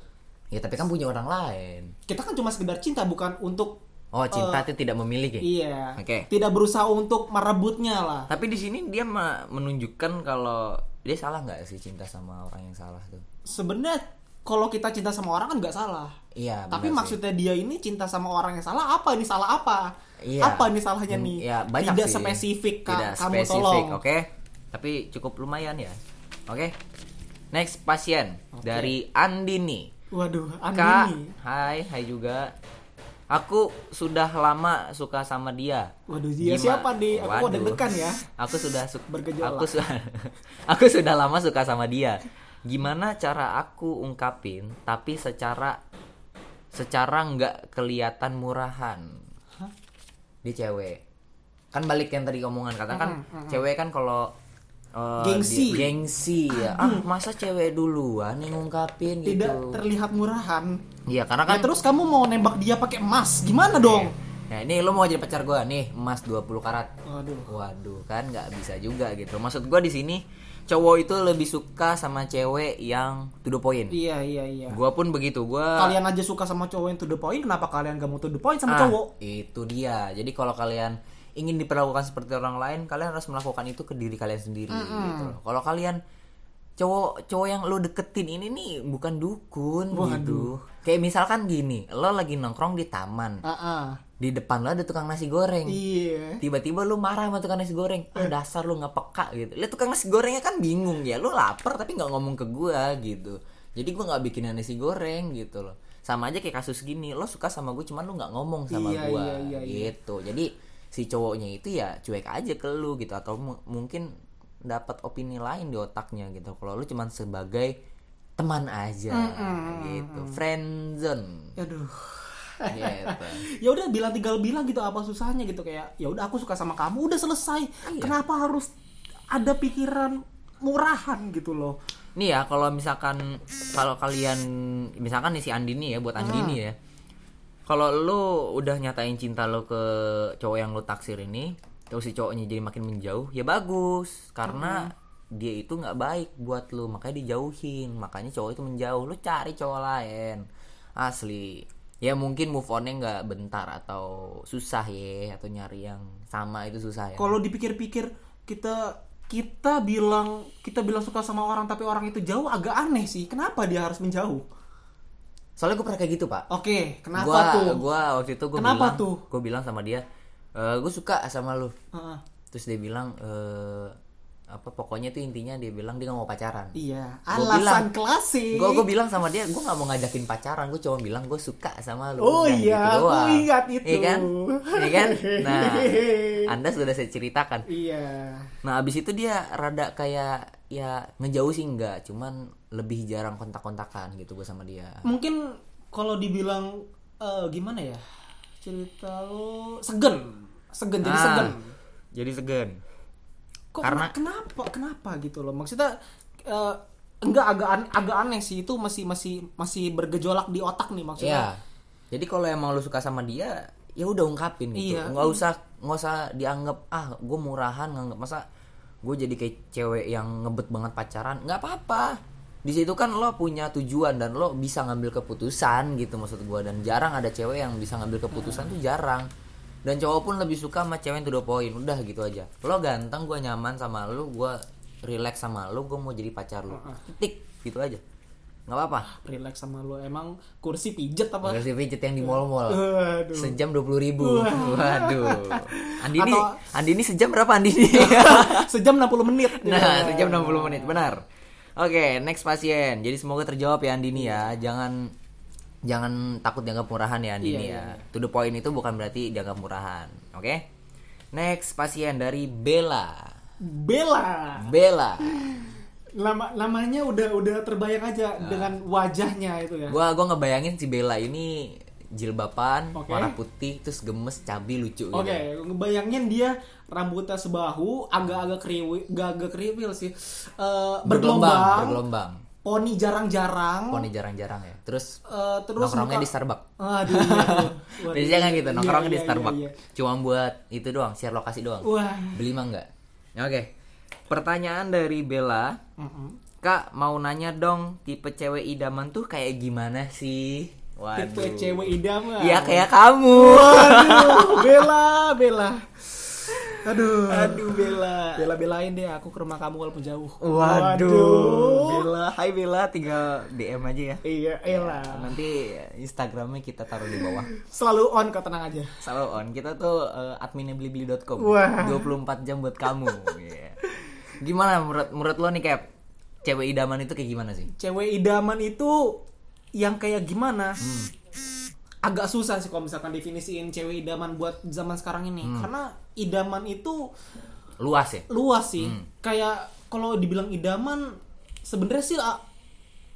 ya tapi kan punya orang lain
Kita kan cuma sekedar cinta, bukan untuk
oh cinta itu tidak memiliki
iya.
Oke.
Tidak berusaha untuk merebutnya lah.
Tapi di sini dia ma- menunjukkan kalau dia salah nggak sih cinta sama orang yang salah tuh?
Sebenarnya kalau kita cinta sama orang kan nggak salah.
Iya.
Tapi
benar sih.
maksudnya dia ini cinta sama orang yang salah apa? Ini salah apa?
Iya.
Apa ini salahnya
Hmm,
nih?
ya, banyak
Tidak
sih.
spesifik, Kak.
Tidak
Kamu
spesifik,
tolong.
Oke. Tapi cukup lumayan ya. Oke. Next pasien dari Andini.
Waduh,
Kak,
Andini.
hai, hai juga. Aku sudah lama suka sama dia.
Waduh, dia
Gimana-
siapa nih? Aku kok
Waduh.
deg-degan ya.
Aku sudah su-
Bergejolak.
Aku, su- aku sudah lama suka sama dia. Gimana cara aku ungkapin tapi secara secara nggak kelihatan murahan?
Hah?
Dia cewek. Kan balik yang tadi omongan kata kan cewek kan kalau eh,
Gengsi.
di- gengsi ya. Ah, masa cewek duluan yang ngungkapin
Tidak
gitu.
terlihat murahan.
Iya, karena
Nah,
kan
terus kamu mau nembak dia pakai emas, gimana dong?
Nah, ini lu mau jadi pacar gua nih, emas 20 karat.
Waduh.
Waduh, kan nggak bisa juga gitu. Maksud gua di sini cowok itu lebih suka sama cewek yang to the point.
Iya, iya, iya.
Gua pun begitu. Gua
Kalian aja suka sama cowok yang to the point, kenapa kalian gak mau to the point sama
Ah,
cowok?
Itu dia. Jadi kalau kalian ingin diperlakukan seperti orang lain, kalian harus melakukan itu ke diri kalian sendiri gitu loh. Kalau kalian cowok cowok yang lo deketin ini nih bukan dukun gitu. Kayak misalkan gini, lo lagi nongkrong di taman.
Ah, ah.
Di depan lo ada tukang nasi goreng.
Iya.
tiba-tiba lu marah sama tukang nasi goreng
Eh.
ah dasar lu nggak peka gitu lihat tukang nasi gorengnya kan bingung ya lu lapar tapi nggak ngomong ke gua gitu jadi gua nggak bikin nasi goreng gitu loh sama aja kayak kasus gini lo suka sama gue cuman lu nggak ngomong sama
Iya,
gua
iya, iya, iya.
gitu jadi si cowoknya itu ya cuek aja ke lu gitu atau mu- mungkin dapat opini lain di otaknya gitu kalau lu cuman sebagai teman aja gitu friendzone
Aduh.
gitu
Ya udah bilang tinggal bilang gitu apa susahnya gitu kayak ya udah aku suka sama kamu udah selesai. Kenapa harus ada pikiran murahan gitu loh.
Nih ya kalau misalkan kalau kalian misalkan nih si Andini ya buat Andini ya. Kalau lu udah nyatain cinta lo ke cowok yang lu taksir ini, terus si cowoknya jadi makin menjauh, ya bagus karena dia itu nggak baik buat lu, makanya dijauhin. Makanya cowok itu menjauh, lu cari cowok lain. Asli. Ya mungkin move onnya nggak bentar atau susah ya atau nyari yang sama itu susah ya.
Kalau dipikir-pikir kita kita bilang kita bilang suka sama orang tapi orang itu jauh agak aneh sih. Kenapa dia harus menjauh?
Soalnya gue pernah kayak gitu, Pak.
Oke, kenapa
gua,
tuh?
Gua waktu itu gua
Kenapa
bilang,
tuh?
Gua bilang sama dia, "Eh, gue suka sama lu.
Heeh.
Terus dia bilang, "Eh, apa pokoknya tuh intinya dia bilang dia gak mau pacaran.
Iya,
Gua bilang.
alasan klasik.
Gue gue bilang sama dia, gue nggak mau ngajakin pacaran, gue cuma bilang gue suka sama lu.
Oh
Udah,
iya,
gitu
aku
doang.
ingat itu.
Iya kan? Iya kan? Nah, Anda sudah saya ceritakan.
Iya.
Nah, abis itu dia rada kayak ya ngejauh sih enggak, cuman lebih jarang kontak-kontakan gitu gue sama dia.
Mungkin kalau dibilang eh, gimana ya? Cerita lo segen. Segen jadi
Ah,
segen.
Jadi segan.
Kok
karena-
kena- kenapa kenapa gitu loh. Maksudnya eh, enggak agak an- agak aneh sih itu masih masih masih bergejolak di otak nih maksudnya.
Iya. Jadi kalau emang lu suka sama dia, ya udah ungkapin gitu.
Iya.
Nggak usah nggak usah dianggap ah gue murahan nganggap masa gue jadi kayak cewek yang ngebet banget pacaran. Nggak apa-apa. Di situ kan lo punya tujuan dan lo bisa ngambil keputusan gitu maksud gue dan jarang ada cewek yang bisa ngambil keputusan tuh jarang. Dan cowok pun lebih suka sama cewek yang to the point. Udah gitu aja. Lo ganteng, gue nyaman sama lu, gue relax sama lu, gue mau jadi pacar lu. Titik gitu aja. nggak apa-apa.
Relax sama lo emang kursi pijet apa?
Agresif pijit yang di mall-mall.
Aduh.
Sejam dua puluh ribu. Waduh. Andini,
Atau-
Andini sejam berapa Andini?
Sejam 60 menit. Iya.
nah, sejam 60 menit, benar. Oke, next pasien. Jadi semoga terjawab ya Andini ya.
Iya.
Jangan jangan takut dianggap murahan ya Andini ya.
Iya,
To the point itu bukan berarti dianggap murahan. Oke? Next pasien dari Bella.
Bella.
Bella.
Lama namanya udah udah terbayang aja dengan wajahnya itu
Nah.
ya.
Gua gua ngebayangin si Bella ini jilbaban,
Oke.
warna putih, terus gemes, cabi, lucu gitu.
Oke, ngebayangin dia rambutnya sebahu, agak-agak kriwil, agak kriwil sih. Eh,
Bergelombang,
bergelombang,
bergelombang.
poni jarang-jarang.
Poni jarang-jarang ya. Terus
eh, terus
nongkrongnya
muka-
di Starbucks.
Aduh. iya, iya. Waduh,
Biasanya kan gitu,
iya,
nongkrongnya
iya,
di
iya,
Starbucks.
iya. Uh.
Cuma buat itu doang, share lokasi doang.
Wah.
Beli mah enggak? Ya, Oke. Pertanyaan dari Bella.
Mm-mm.
Kak, mau nanya dong, tipe cewek idaman tuh kayak gimana sih? Waduh.
Tipe cewek idaman.
Ya kayak kamu.
Aduh, Bella, Bella. Aduh. Aduh, Bella. Bella-belain deh aku ke rumah kamu walaupun jauh.
Bella, hai Bella, tinggal DM aja ya.
Iya, Ella.
Nanti Instagramnya kita taruh di bawah.
Selalu on kok tenang aja.
Selalu on. Kita tuh eh, adminnya blibli.com.
Wah.
24 jam buat kamu. Iya. Gimana menurut menurut lo nih Cap? Cewek idaman itu kayak gimana sih?
Cewek idaman itu yang kayak gimana? Agak susah sih kalau misalkan definisiin cewek idaman buat zaman sekarang ini. Karena idaman itu
Luas ya?
luas sih. Kayak kalau dibilang idaman sebenarnya sih a-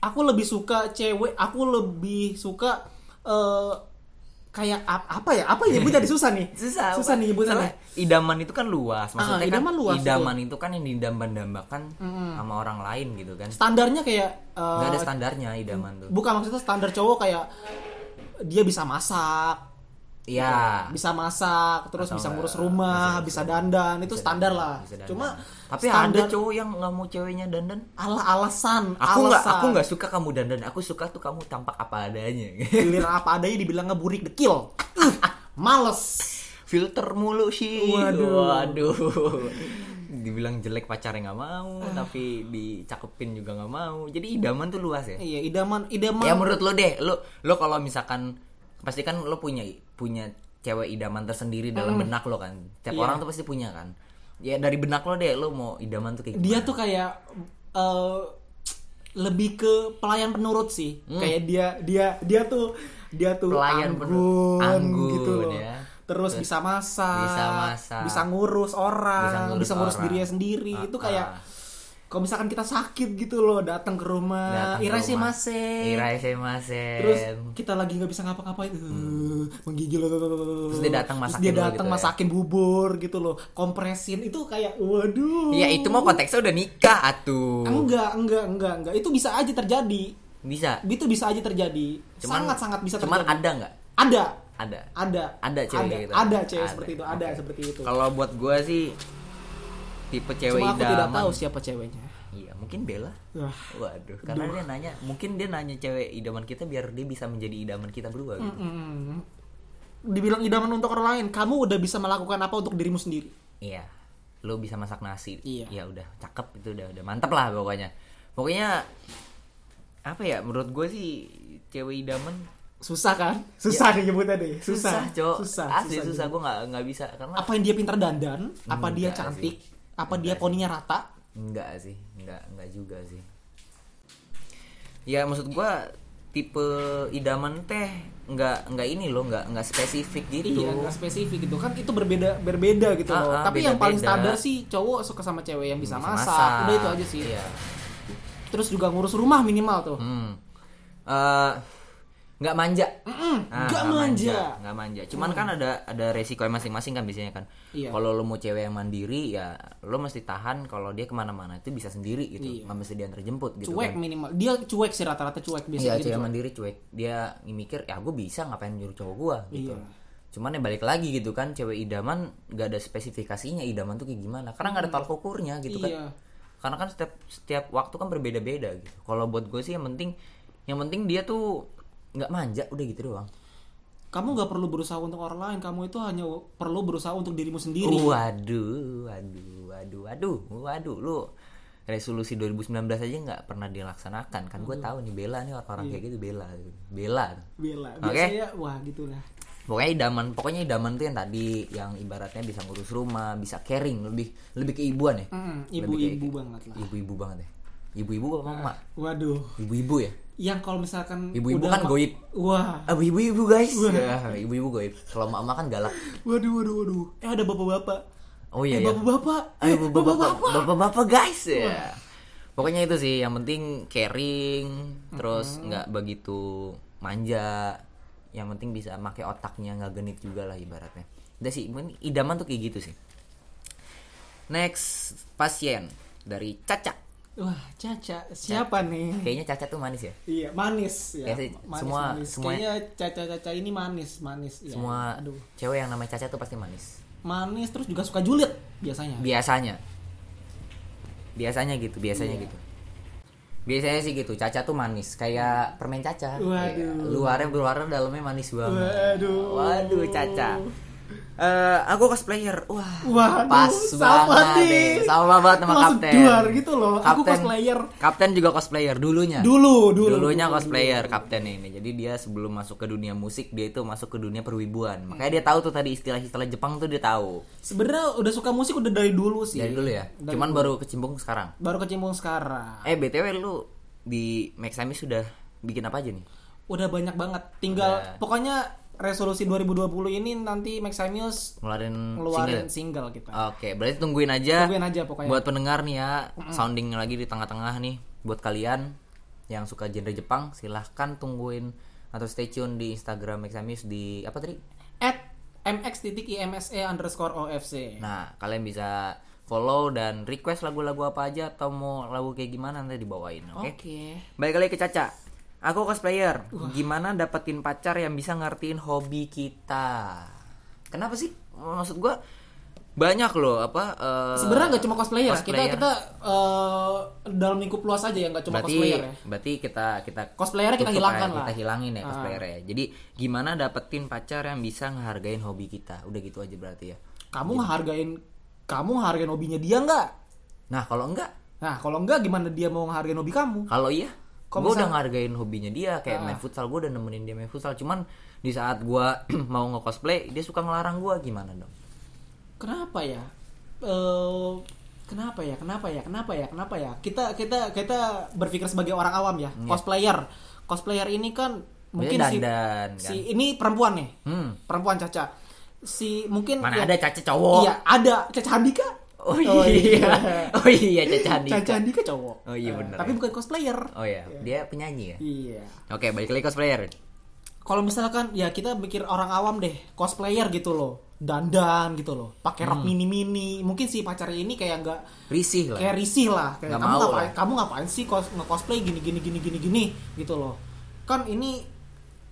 aku lebih suka cewek, aku lebih suka eh, kayak ap- apa ya? Apa ya? Ibu jadi susah nih. Susah nih
Soalnya
nyebutannya.
Idaman itu kan luas, maksudnya
Ah,
kan
idaman luas,
idaman itu kan yang didambakan sama orang lain gitu kan.
Standarnya kayak eh,
Gak ada standarnya idaman tuh.
bukan maksudnya standar cowok kayak dia bisa masak,
Iya.
bisa masak terus
Atau
bisa
enggak,
ngurus rumah bisa, dandan itu standar lah
Bisa dandan.
cuma
tapi
standar
ada cowok yang nggak mau ceweknya dandan.
ala alasan
Aku nggak,
alasan
aku nggak suka kamu dandan. Aku suka tuh kamu tampak apa adanya.
giliran apa adanya dibilang ngeburik dekil Ih, males
filter mulu sih
Waduh.
waduh dibilang jelek pacarnya nggak mau
Ah.
tapi dicakepin juga nggak mau jadi idaman tuh luas ya
iya idaman idaman
ya menurut lo deh lo lo kalau misalkan pasti kan lo punya punya cewek idaman tersendiri
Hmm.
dalam benak lo kan tiap
Iya.
orang tuh pasti punya kan ya dari benak lo deh lo mau idaman tuh kayak gimana?
dia tuh kayak eh, lebih ke pelayan penurut sih kayak dia dia dia tuh dia tuh
Hmm. Pelayan
anggun,
penurut. Anggun,
gitu loh
ya.
terus bisa masak,
Bisa masak.
bisa ngurus orang, bisa ngurus,
ngurus orang.
dirinya sendiri.
Ah,
itu kayak
ah.
kalau misalkan kita sakit gitu loh, datang ke rumah,
Datang ke
irasi
rumah.
masih.
Irai semasen.
Terus kita lagi nggak bisa ngapa-ngapain, eh, menggigil.
Hmm.
Terus
dia datang masakin
dia
lo
datang
gitu ya.
masakin bubur gitu loh, kompresin itu kayak waduh.
Ya itu mau konteksnya udah nikah atuh.
Ah, Enggak, enggak, enggak, enggak. Itu bisa aja terjadi.
Bisa.
Itu bisa aja terjadi.
Cuman-
Sangat-sangat bisa
Cuman
terjadi.
ada nggak?
ada.
Ada.
Ada.
Ada cewek
ada,
kayak gitu.
Ada cewek
Ada.
seperti itu, ada
Oke.
seperti itu.
Kalau buat gue sih tipe cewek
Cuma aku tidak
idaman.
tahu siapa ceweknya. Ah,
Iya, mungkin Bella.
Wah.
Waduh, karena dia nanya, mungkin dia nanya cewek idaman kita biar dia bisa menjadi idaman kita berdua gitu.
Mm. Dibilang idaman untuk orang lain, kamu udah bisa melakukan apa untuk dirimu sendiri?
Iya. Lu bisa masak nasi.
Iya.
Ya udah, cakep itu udah udah mantep lah pokoknya. Pokoknya apa ya menurut gue sih cewek idaman
Susah kan? Susah nih nyebutnya deh.
Ya. susah,
Susah,
cowok
Susah.
asli
susah
susah,
gitu.
gue nggak nggak bisa karena
Apa yang dia pintar dandan? Apa dia
Enggak sih.
cantik? Apa
Enggak
dia
sih.
poninya rata?
Enggak sih, enggak enggak juga sih. Ya maksud gua tipe idaman teh enggak enggak ini loh, enggak enggak spesifik gitu.
Iya, nggak spesifik gitu kan itu berbeda berbeda gitu
Ah,
loh.
ah,
Tapi yang paling
beda-beda.
standar sih cowok suka sama cewek yang bisa,
Bisa
masak. Udah itu aja sih.
Iya.
Terus juga ngurus rumah minimal tuh.
Hmm. Eh, enggak manja. Ah,
Gak manja.
nggak manja. Cuman kan ada ada resiko yang masing-masing kan biasanya kan.
Iya.
Kalau lo mau cewek yang mandiri ya lo mesti tahan kalau dia kemana-mana itu bisa sendiri
Iya.
gitu, nggak mesti diantar jemput gitu.
Cuek
kan.
minimal. Dia cuek sih rata-rata cuek
Iya
biasanya. gitu.
cewek mandiri cuek Dia mikir ya gue bisa ngapain nyuruh cowok gue gitu
Iya.
Cuman ya balik lagi gitu kan Cewek idaman gak ada spesifikasinya idaman tuh kayak gimana Karena gak ada tolak ukurnya gitu
Iya.
kan Karena kan setiap setiap waktu kan berbeda-beda gitu Kalau buat gue sih yang penting Yang penting dia tuh nggak manja udah gitu doang
Kamu nggak perlu berusaha untuk orang lain. Kamu itu hanya perlu berusaha untuk
Oh.
dirimu sendiri.
Waduh, waduh, waduh, waduh, waduh, lu resolusi 2019 aja nggak pernah dilaksanakan kan gue tahu nih Bella nih
Iya.
orang-orang kayak gitu Bella Bella
Bela.
Oke.
Biasanya wah gitulah.
pokoknya idaman pokoknya idaman tuh yang tadi yang ibaratnya bisa ngurus rumah bisa caring lebih lebih ke ibuan ya
Mm,
Lebih kayak
Ibu-ibu
gitu.
banget lah.
ibu-ibu banget ya ibu-ibu apa mama
Waduh.
ibu-ibu ya
Yang kalau misalkan
Ibu-ibu
Nah. udah
kan
ma-
goib.
Wah.
Ah, ibu-ibu guys Ya, ibu-ibu goib kalau mama kan galak
Waduh waduh waduh. Eh ada bapak-bapak.
oh iya
eh,
ya
bapak-bapak. Eh,
ayo bapak-bapak bapak-bapak guys ya pokoknya itu sih yang penting caring terus nggak begitu manja yang penting bisa pakai otaknya nggak genit juga lah ibaratnya udah sih men- idaman tuh kayak gitu sih next pasien dari Caca
Wah, Caca, siapa nih?
kayaknya Caca tuh manis ya
Iya, manis ya.
Ya sih,
manis,
semua-
manis.
semua-
Kayaknya Caca-caca ini manis, manis. Ya,
semua
aduh.
cewek yang namanya Caca tuh pasti manis
Manis terus juga suka julid biasanya.
biasanya biasanya gitu biasanya
Iya.
gitu biasanya sih gitu caca tuh manis kayak permen caca
Waduh.
Iya. luarnya luarnya dalamnya manis banget
Waduh.
waduh caca Eh, aku cosplayer wah
Waduh,
pas
sama
banget
nih.
deh. sama banget sama
Langsung
kapten
duar gitu loh. Aku cosplayer.
kapten juga cosplayer dulunya
Dulu, dulu.
dulunya
dulu.
cosplayer kapten ini jadi dia sebelum masuk ke dunia musik dia itu masuk ke dunia perwibuan makanya dia tahu tuh tadi istilah-istilah Jepang tuh dia tahu
Sebenarnya udah suka musik udah dari dulu sih.
dari dulu ya
Dari
cuman baru kecimpung sekarang
baru kecimpung sekarang.
Eh BTW lu di Maxami sudah bikin apa aja nih?
Udah banyak banget. Tinggal
Udah.
pokoknya resolusi 2020 ini nanti Maximius
Ngeluarin Hmm,
ngeluarin
single? ya?
single, kita.
Oke, berarti tungguin aja.
Tungguin aja pokoknya.
Buat pendengar nih ya, sounding lagi di tengah-tengah nih. Buat kalian yang suka genre Jepang, silahkan tungguin atau stay tune di Instagram Maxamius di apa tadi?
At mx.imse e underscore ofc.
Nah, kalian bisa follow dan request lagu-lagu apa aja atau mau lagu kayak gimana nanti dibawain, oke? Balik lagi ke Caca. Aku cosplayer. Gimana dapetin pacar yang bisa ngertiin hobi kita? Kenapa sih? Maksud gua banyak loh apa eh,
sebenarnya nggak cuma cosplayer, ya,
cosplayer.
kita kita eh, dalam lingkup luas aja ya nggak cuma
berarti
cosplayer ya
berarti kita kita
Cosplayer kita
tutup
hilangkan
aja,
lah.
Kita hilangin ya
Ah.
cosplayer ya. Jadi gimana dapetin pacar yang bisa ngehargain hobi kita? Udah gitu aja berarti ya.
kamu ngehargain kamu ngehargain hobinya dia nggak
Nah, kalau enggak,
nah kalau nggak gimana dia mau ngehargain hobi kamu
kalau iya
Kalau
gue
misal-
udah ngehargain hobinya dia
Ah.
kayak main futsal gue udah nemenin dia main futsal cuman di saat gua mau nge-cosplay dia suka ngelarang gua gimana dong
kenapa ya Eh, kenapa ya kenapa ya kenapa ya kenapa ya kita kita kita berpikir sebagai orang awam ya cosplayer cosplayer ini kan
Mungkin
mungkin si,
dandan,
kan? si ini perempuan nih
Hmm.
perempuan caca si mungkin
Mana
ya-
ada caca cowok?
Iya, ada Caca Andika.
Oh iya. Oh iya Caca Andika.
Caca Andika cowok.
Oh iya,
Eh,
bener
Tapi
ya.
bukan cosplayer.
Oh iya, dia penyanyi ya.
Iya.
Oke, balik lagi cosplayer.
Kalau misalkan ya kita mikir orang awam deh, cosplayer gitu loh. Dandan gitu loh, pakai rok mini-mini. Mungkin si pacarnya ini kayak nggak
Risih Hmm. lah.
kayak risih lah kayak
Nggak
kamu
mau
ngapain
lah.
kamu ngapain sih cos cosplay gini gini gini gini gini gitu loh kan ini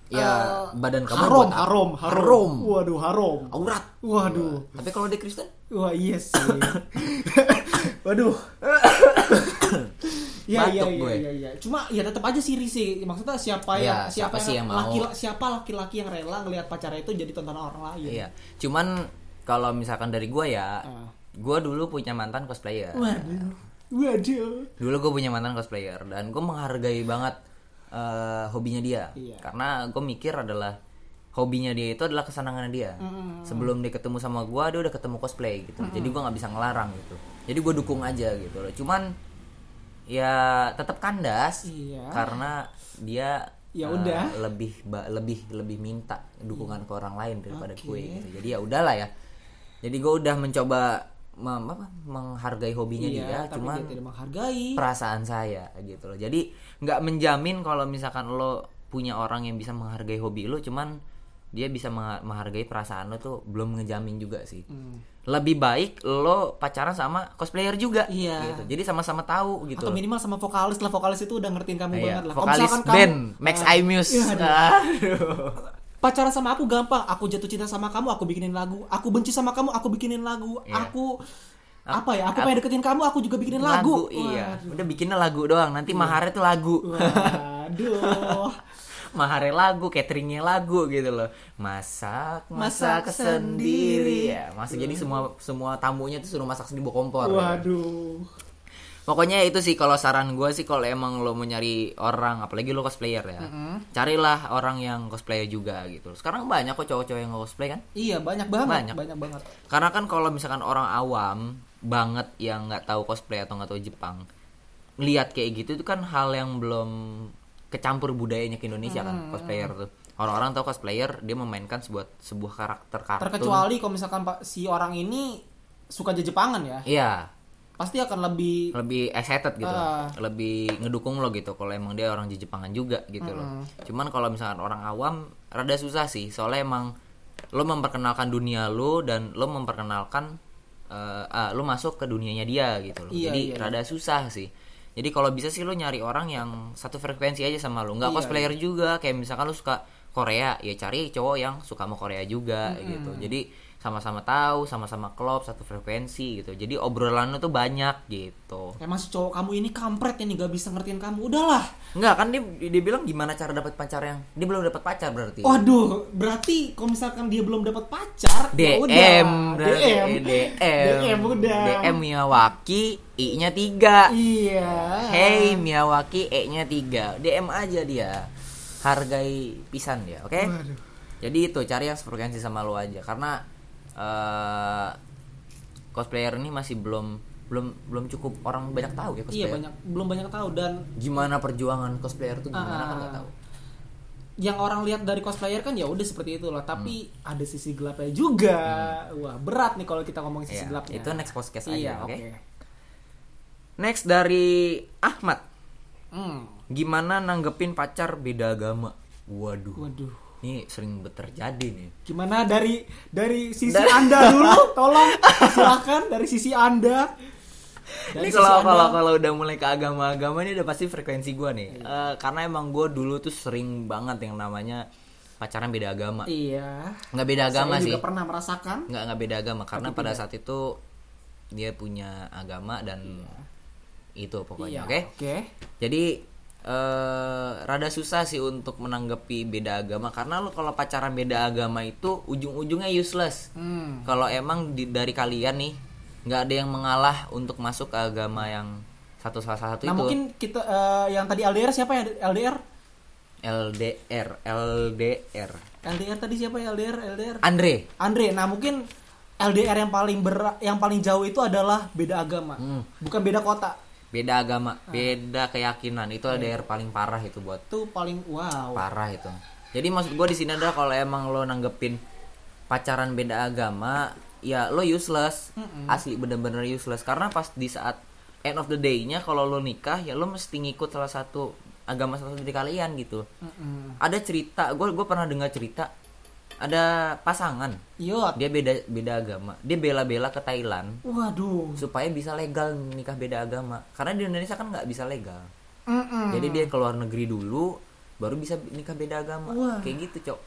Ya,
eh,
badan kamu
harom
buat apa?
harom harom
Harom.
waduh harom
Aurat.
waduh
Tapi kalau dia Kristen?
wah iya sih waduh Iya iya
Batuk
iya
gue.
iya iya. Cuma ya tetap aja sih risih. Maksudnya siapa
Iya,
ya,
siapa
siapa,
sih yang mau?
laki, siapa laki-laki yang rela ngelihat pacarnya itu jadi tontonan orang lain.
Iya. Cuman kalau misalkan dari gua ya,
Ah.
gua dulu punya mantan cosplayer.
Waduh. Waduh.
Dulu gue punya mantan cosplayer dan gue menghargai banget eh, hobinya dia.
Iya.
Karena gue mikir adalah hobinya dia itu adalah kesenangan dia. Sebelum dia ketemu sama gua, dia udah ketemu cosplay gitu. Jadi gua nggak bisa ngelarang gitu. Jadi gue dukung aja gitu loh. Cuman ya tetap kandas
Iya.
karena dia eh,
Ya udah.
lebih ba- lebih lebih minta dukungan ke orang lain daripada gue gitu. Jadi ya udahlah ya. Jadi gue udah mencoba mem- apa, menghargai hobinya dia,
Iya, tapi
cuman
dia tidak menghargai.
perasaan saya gitu loh. Jadi nggak menjamin kalau misalkan lo punya orang yang bisa menghargai hobi lo, cuman dia bisa mengha- menghargai perasaan lo tuh belum ngejamin juga sih.
Hmm.
Lebih baik lo pacaran sama cosplayer juga,
Iya.
gitu. Jadi sama-sama tahu gitu.
atau
loh.
minimal sama vokalis lah vokalis itu udah ngertiin kamu
Iya,
banget lah Kalau
vokalis
misalkan kamu,
band Max
eh,
Imus.
iya, aduh.
Aduh.
pacaran sama aku gampang aku jatuh cinta sama kamu aku bikinin lagu aku benci sama kamu aku bikinin lagu
Iya.
aku apa ya aku pengen deketin kamu aku juga bikinin lagu,
iya. Udah bikinnya lagu doang. Nanti maharnya tuh lagu.
aduh
mahare lagu, cateringnya lagu gitu loh. Masak, masak,
Masak
sendiri.
sendiri.
Ya, masak jadi semua semua tamunya tuh suruh masak sendiri bawa kompor.
waduh
Pokoknya itu sih kalau saran gue sih kalau emang lo mau nyari orang, apalagi lo cosplayer ya, carilah orang yang cosplayer juga gitu. Sekarang banyak kok cowok-cowok yang cosplay kan?
iya banyak banget
Banyak.
banyak, banget
Karena kan kalau misalkan orang awam banget yang nggak tahu cosplay atau nggak tahu Jepang, lihat kayak gitu itu kan hal yang belum kecampur budayanya ke Indonesia kan
Hmm.
cosplayer tuh. Orang-orang tahu cosplayer dia memainkan sebuah sebuah karakter kartun.
terkecuali kalau misalkan pak si orang ini suka aja Jepangan ya
Iya,
pasti akan lebih
lebih excited gitu,
Ah.
lebih ngedukung lo gitu. Kalau emang dia orang di Jepangan juga gitu
Hmm.
loh. Cuman kalau misalkan orang awam rada susah sih, soalnya emang lo memperkenalkan dunia lo dan lo memperkenalkan eh, ah, lo masuk ke dunianya dia gitu loh.
Iya,
Jadi
iya,
rada susah sih. Jadi kalau bisa sih lo nyari orang yang satu frekuensi aja sama lo, nggak
Iya,
cosplayer juga. Kayak misalkan lo suka Korea, ya cari cowok yang suka sama Korea juga gitu. Jadi sama-sama tahu, sama-sama klop, satu frekuensi gitu. Jadi obrolan lo tuh banyak gitu.
emang si cowok kamu ini kampret ini gak bisa ngertiin kamu udahlah
Enggak kan dia dia bilang gimana cara dapat pacar yang dia belum dapat pacar berarti.
Waduh, berarti kalau misalkan dia belum dapat pacar, ya
DM
udah.
berarti
DM,
Eh, DM
DM udah.
DM Miyawaki I-nya 3.
Iya.
Hey Miyawaki E-nya 3. DM aja dia. Hargai pisan dia, oke?
Waduh.
Jadi itu cari yang sefrekuensi sama lo aja karena eh cosplayer ini masih belum belum belum cukup orang banyak tahu ya
Iya
cosplayer.
banyak belum banyak tahu dan
Gimana perjuangan cosplayer tuh gimana kan nggak
Ah.
tahu.
yang orang lihat dari cosplayer kan ya udah seperti itulah, tapi
Hmm.
ada sisi gelapnya juga. Wah, berat nih kalau kita ngomongin
Iya,
sisi gelapnya.
itu next podcast aja,
Iya,
oke?
oke.
Next dari Ahmad.
Hmm.
Gimana nanggepin pacar beda agama? Waduh.
Waduh.
Ini sering terjadi nih.
Gimana dari dari sisi Anda dulu? Tolong silakan dari sisi Anda.
ini
Dari sisi
kalau
Anda.
kalau kalau udah mulai ke agama-agama ini udah pasti frekuensi gua
Iya.
nih. Eh, karena emang gua dulu tuh sering banget yang namanya pacaran beda agama.
Iya.
Nggak beda agama
Saya
sih.
juga pernah merasakan.
nggak nggak beda agama karena pada saat itu dia punya agama dan
Iya.
itu pokoknya, Iya, oke?
Oke.
Jadi eh rada susah sih untuk menanggapi beda agama karena lo kalau pacaran beda agama itu ujung-ujungnya useless.
Hmm.
Kalau emang di- dari kalian nih nggak ada yang mengalah untuk masuk ke agama yang satu salah satu itu
Nah mungkin kita eh, yang tadi LDR siapa ya LDR?
LDR LDR
LDR tadi siapa ya LDR LDR?
Andre
Andre. Nah mungkin LDR yang paling ber yang paling jauh itu adalah beda agama,
Hmm.
bukan beda kota.
beda agama
Ah.
beda keyakinan itu
Iya.
LDR paling parah itu buat
Itu paling wow.
parah itu jadi maksud gue di sini adalah kalau emang lo nanggepin pacaran beda agama ya lo useless asli bener-bener useless karena pas di saat end of the day-nya kalau lo nikah ya lo mesti ngikut salah satu agama salah satu dari kalian gitu ada cerita gue gue pernah dengar cerita ada pasangan
Yot.
dia beda beda agama dia bela-bela ke Thailand
Waduh.
supaya bisa legal nikah beda agama karena di Indonesia kan nggak bisa legal
Mm-mm.
jadi dia ke luar negeri dulu baru bisa nikah beda agama
Wah.
kayak gitu cok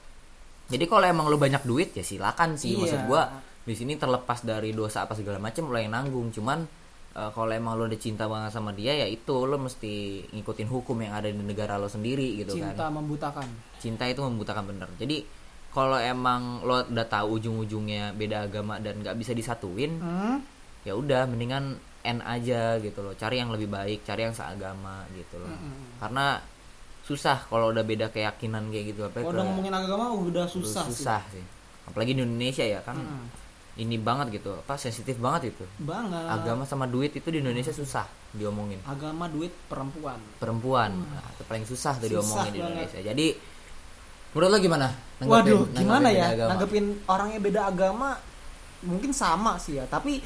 jadi kalau emang lo banyak duit ya silakan sih maksud
Iya.
gua di sini terlepas dari dosa apa segala macam lo yang nanggung cuman eh, kalau emang lo udah cinta banget sama dia ya itu lo mesti ngikutin hukum yang ada di negara lo sendiri gitu kan
Cinta membutakan.
cinta itu membutakan bener jadi kalau emang lo udah tahu ujung-ujungnya beda agama dan nggak bisa disatuin
Hmm?
ya udah mendingan end aja gitu loh cari yang lebih baik cari yang seagama gitu loh karena susah kalau udah beda keyakinan kayak gitu apa
Kalau udah ngomongin agama udah susah, susah.
susah sih. apalagi di Indonesia ya kan ini banget gitu apa sensitif banget itu
banget.
agama sama duit itu di Indonesia susah diomongin
Agama, duit perempuan.
perempuan nah, itu paling susah tuh
Hmm. Susah
diomongin di
banget.
Indonesia jadi menurut lo gimana Nanggepin-
Waduh,
nanggepin
gimana
beda
ya?
agama?
Nanggepin orangnya beda agama mungkin sama sih ya, tapi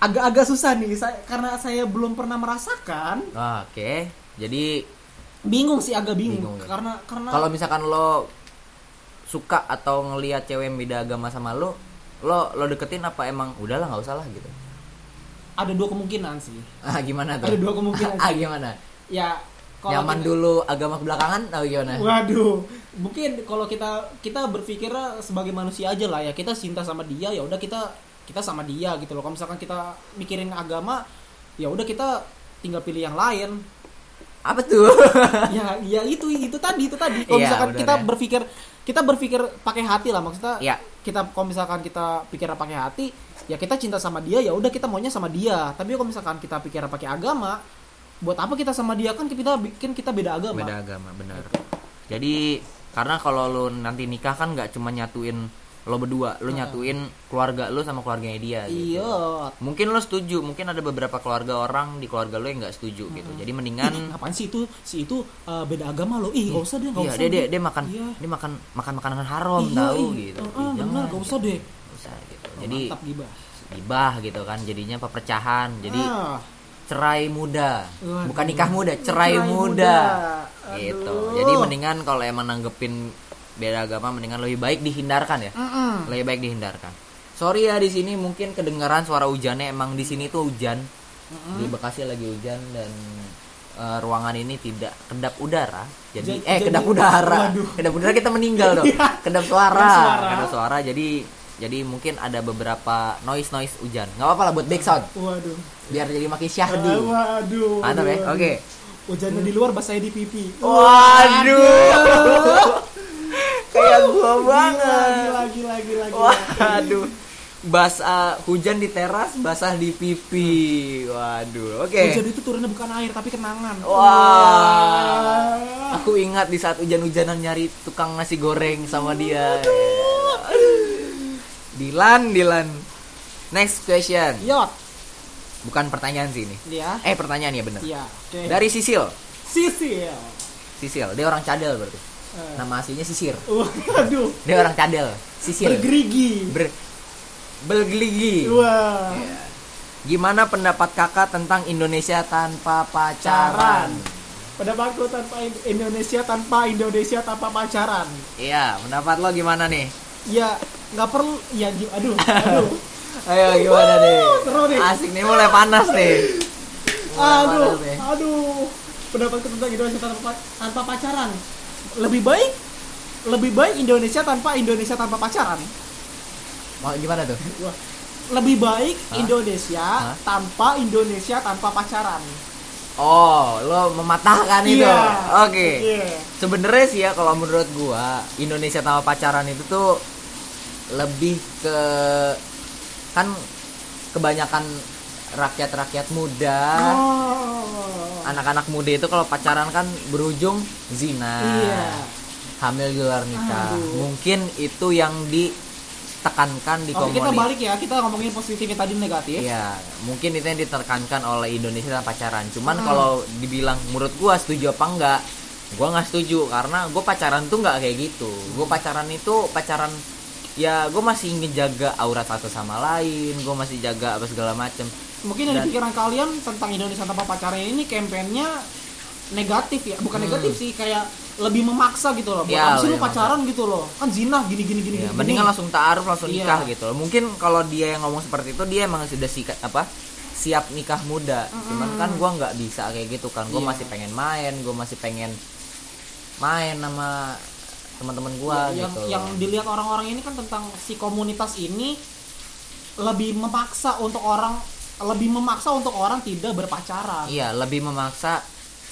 agak-agak susah nih saya, karena saya belum pernah merasakan.
Ah, oke jadi
Bingung sih, agak bingung,
Bingung ya.
karena karena
kalau misalkan lo suka atau ngelihat cewek yang beda agama sama lo lo lo deketin apa emang udahlah nggak usah lah gitu
ada dua kemungkinan sih.
ah gimana tuh
Ada dua kemungkinan
ah gimana
Ya kalau
nyaman
kita-
dulu ya. agama belakangan atau gimana
Waduh, mungkin kalau kita kita berpikirnya sebagai manusia aja lah ya kita cinta sama dia ya udah kita kita sama dia gitu loh. Kalau misalkan kita mikirin agama ya udah kita tinggal pilih yang lain.
apa tuh
ya ya itu itu tadi itu tadi. Kalau
Iya,
misalkan
benar
kita
ya.
berpikir kita berpikir pakai hati lah maksudnya.
Iya.
Kita kalau misalkan kita pikirnya pakai hati ya kita cinta sama dia ya udah kita maunya sama dia. Tapi kalau misalkan kita pikirnya pakai agama buat apa kita sama dia kan kita bikin kita beda agama.
beda agama benar jadi karena kalau lo nanti nikah kan nggak cuma nyatuin lo berdua lo nyatuin keluarga lo sama keluarganya dia gitu.
Iya,
mungkin lo setuju mungkin ada beberapa keluarga orang di keluarga lo yang nggak setuju gitu jadi mendingan
Ih, ngapain sih itu si itu uh, beda agama loh ih gak usah deh gak
Iya,
usah
dia, dia
deh.
dia makan
Iya.
dia makan makan makanan haram
Iya,
tahu
iya.
gitu.
Ah,
Ih,
benar, nggak usah deh.
Nggak usah gitu.
Oh,
Jadi
mantap gibah
gibah gitu kan jadinya apa perpecahan. Jadi
Ah,
cerai muda.
Waduh.
Bukan nikah muda, cerai, muda.
Cerai muda.
Gitu.
Aduh.
Jadi mendingan kalau emang nanggepin beda agama mendingan lebih baik dihindarkan ya.
mm-mm.
Lebih baik dihindarkan. Sorry ya di sini mungkin kedengaran suara hujannya emang di sini tuh hujan. Di Bekasi lagi hujan dan eh, ruangan ini tidak kedap udara. Jadi
Ja-
eh
jadi-
kedap udara.
Waduh. Iya.
Kedap udara kita meninggal dong. kedap suara.
Kedap suara.
Kedap suara. Jadi jadi mungkin ada beberapa noise noise hujan. nggak apa-apa lah buat background
waduh
biar jadi makin
Ah,
syahdu.
waduh
Mantap ya.
waduh.
Oke.
hujannya di luar basahnya di pipi
Waduh. Kayak gua banget.
lagi lagi lagi lagi
Waduh. Basah hujan di teras, basah di pipi. Waduh. Oke.
hujan itu turunnya bukan air tapi kenangan
Wah. Aku ingat di saat hujan-hujanan nyari tukang nasi goreng sama dia. Dilan, Dilan. Next question.
yot
Bukan pertanyaan sih ini.
Iya. dia
Eh, pertanyaan ya bener.
ya oke
Dari Sisil.
sisil
Sisil, dia orang cadel berarti.
Eh.
Nama aslinya Sisir.
waduh
Dia orang cadel. Sisil.
bergerigi
Ber Belgeligi.
wah
Gimana pendapat kakak tentang Indonesia tanpa
pacaran.
pacaran?
Pada waktu tanpa In- Indonesia tanpa Indonesia tanpa pacaran.
Iya, pendapat lo gimana nih?
Ya nggak perlu. Ya gi- aduh, aduh,
Ayo gimana
Wuh,
nih?
seru nih.
Asik nih mulai panas nih.
aduh,
panas ya.
aduh. Pendapatku tentang Indonesia tanpa tanpa pacaran. Lebih baik, lebih baik Indonesia tanpa Indonesia tanpa pacaran.
Mau gimana tuh?
Wah. Lebih baik
Hah?
Indonesia
Hah?
tanpa Indonesia tanpa pacaran.
Oh, lo mematahkan itu.
Iya.
Oke.
Iya.
Sebenarnya sih ya kalau menurut gua Indonesia tanpa pacaran itu tuh lebih ke kan kebanyakan rakyat-rakyat muda.
Oh.
anak-anak muda itu kalau pacaran kan berujung zina
Iya.
hamil di luar nikah
Aduh.
mungkin itu yang ditekankan di
Oke, kita
komunitas
balik ya. Kita ngomongin positifnya tadi negatif.
Iya, mungkin itu yang ditekankan oleh Indonesia tentang pacaran. Cuman
Ah.
kalau dibilang menurut gua setuju apa enggak? Gua nggak setuju karena gua pacaran tuh nggak kayak gitu. Gua pacaran itu pacaran ya gue masih ngejaga aurat satu sama lain gue masih jaga apa segala macem
Mungkin dari
Dan-
pikiran kalian tentang Indonesia tanpa pacarnya ini kampanyenya negatif ya, bukan negatif sih kayak lebih memaksa gitu loh. Buat
Hmm. Ya,
apa sih lu
lebih memaksa.
pacaran gitu loh? Kan zina gini gini gini.
Ya,
gini,
mendingan
gini.
langsung taaruf langsung
Iya.
nikah gitu loh. Mungkin kalau dia yang ngomong seperti itu dia emang sudah sikat apa siap nikah muda. Cuman kan gua nggak bisa kayak gitu kan. Gua
Iya.
masih pengen main, gua masih pengen main sama teman-teman gua
yang
gitu.
yang dilihat orang-orang ini kan tentang si komunitas ini lebih memaksa untuk orang lebih memaksa untuk orang tidak berpacaran.
Iya, lebih memaksa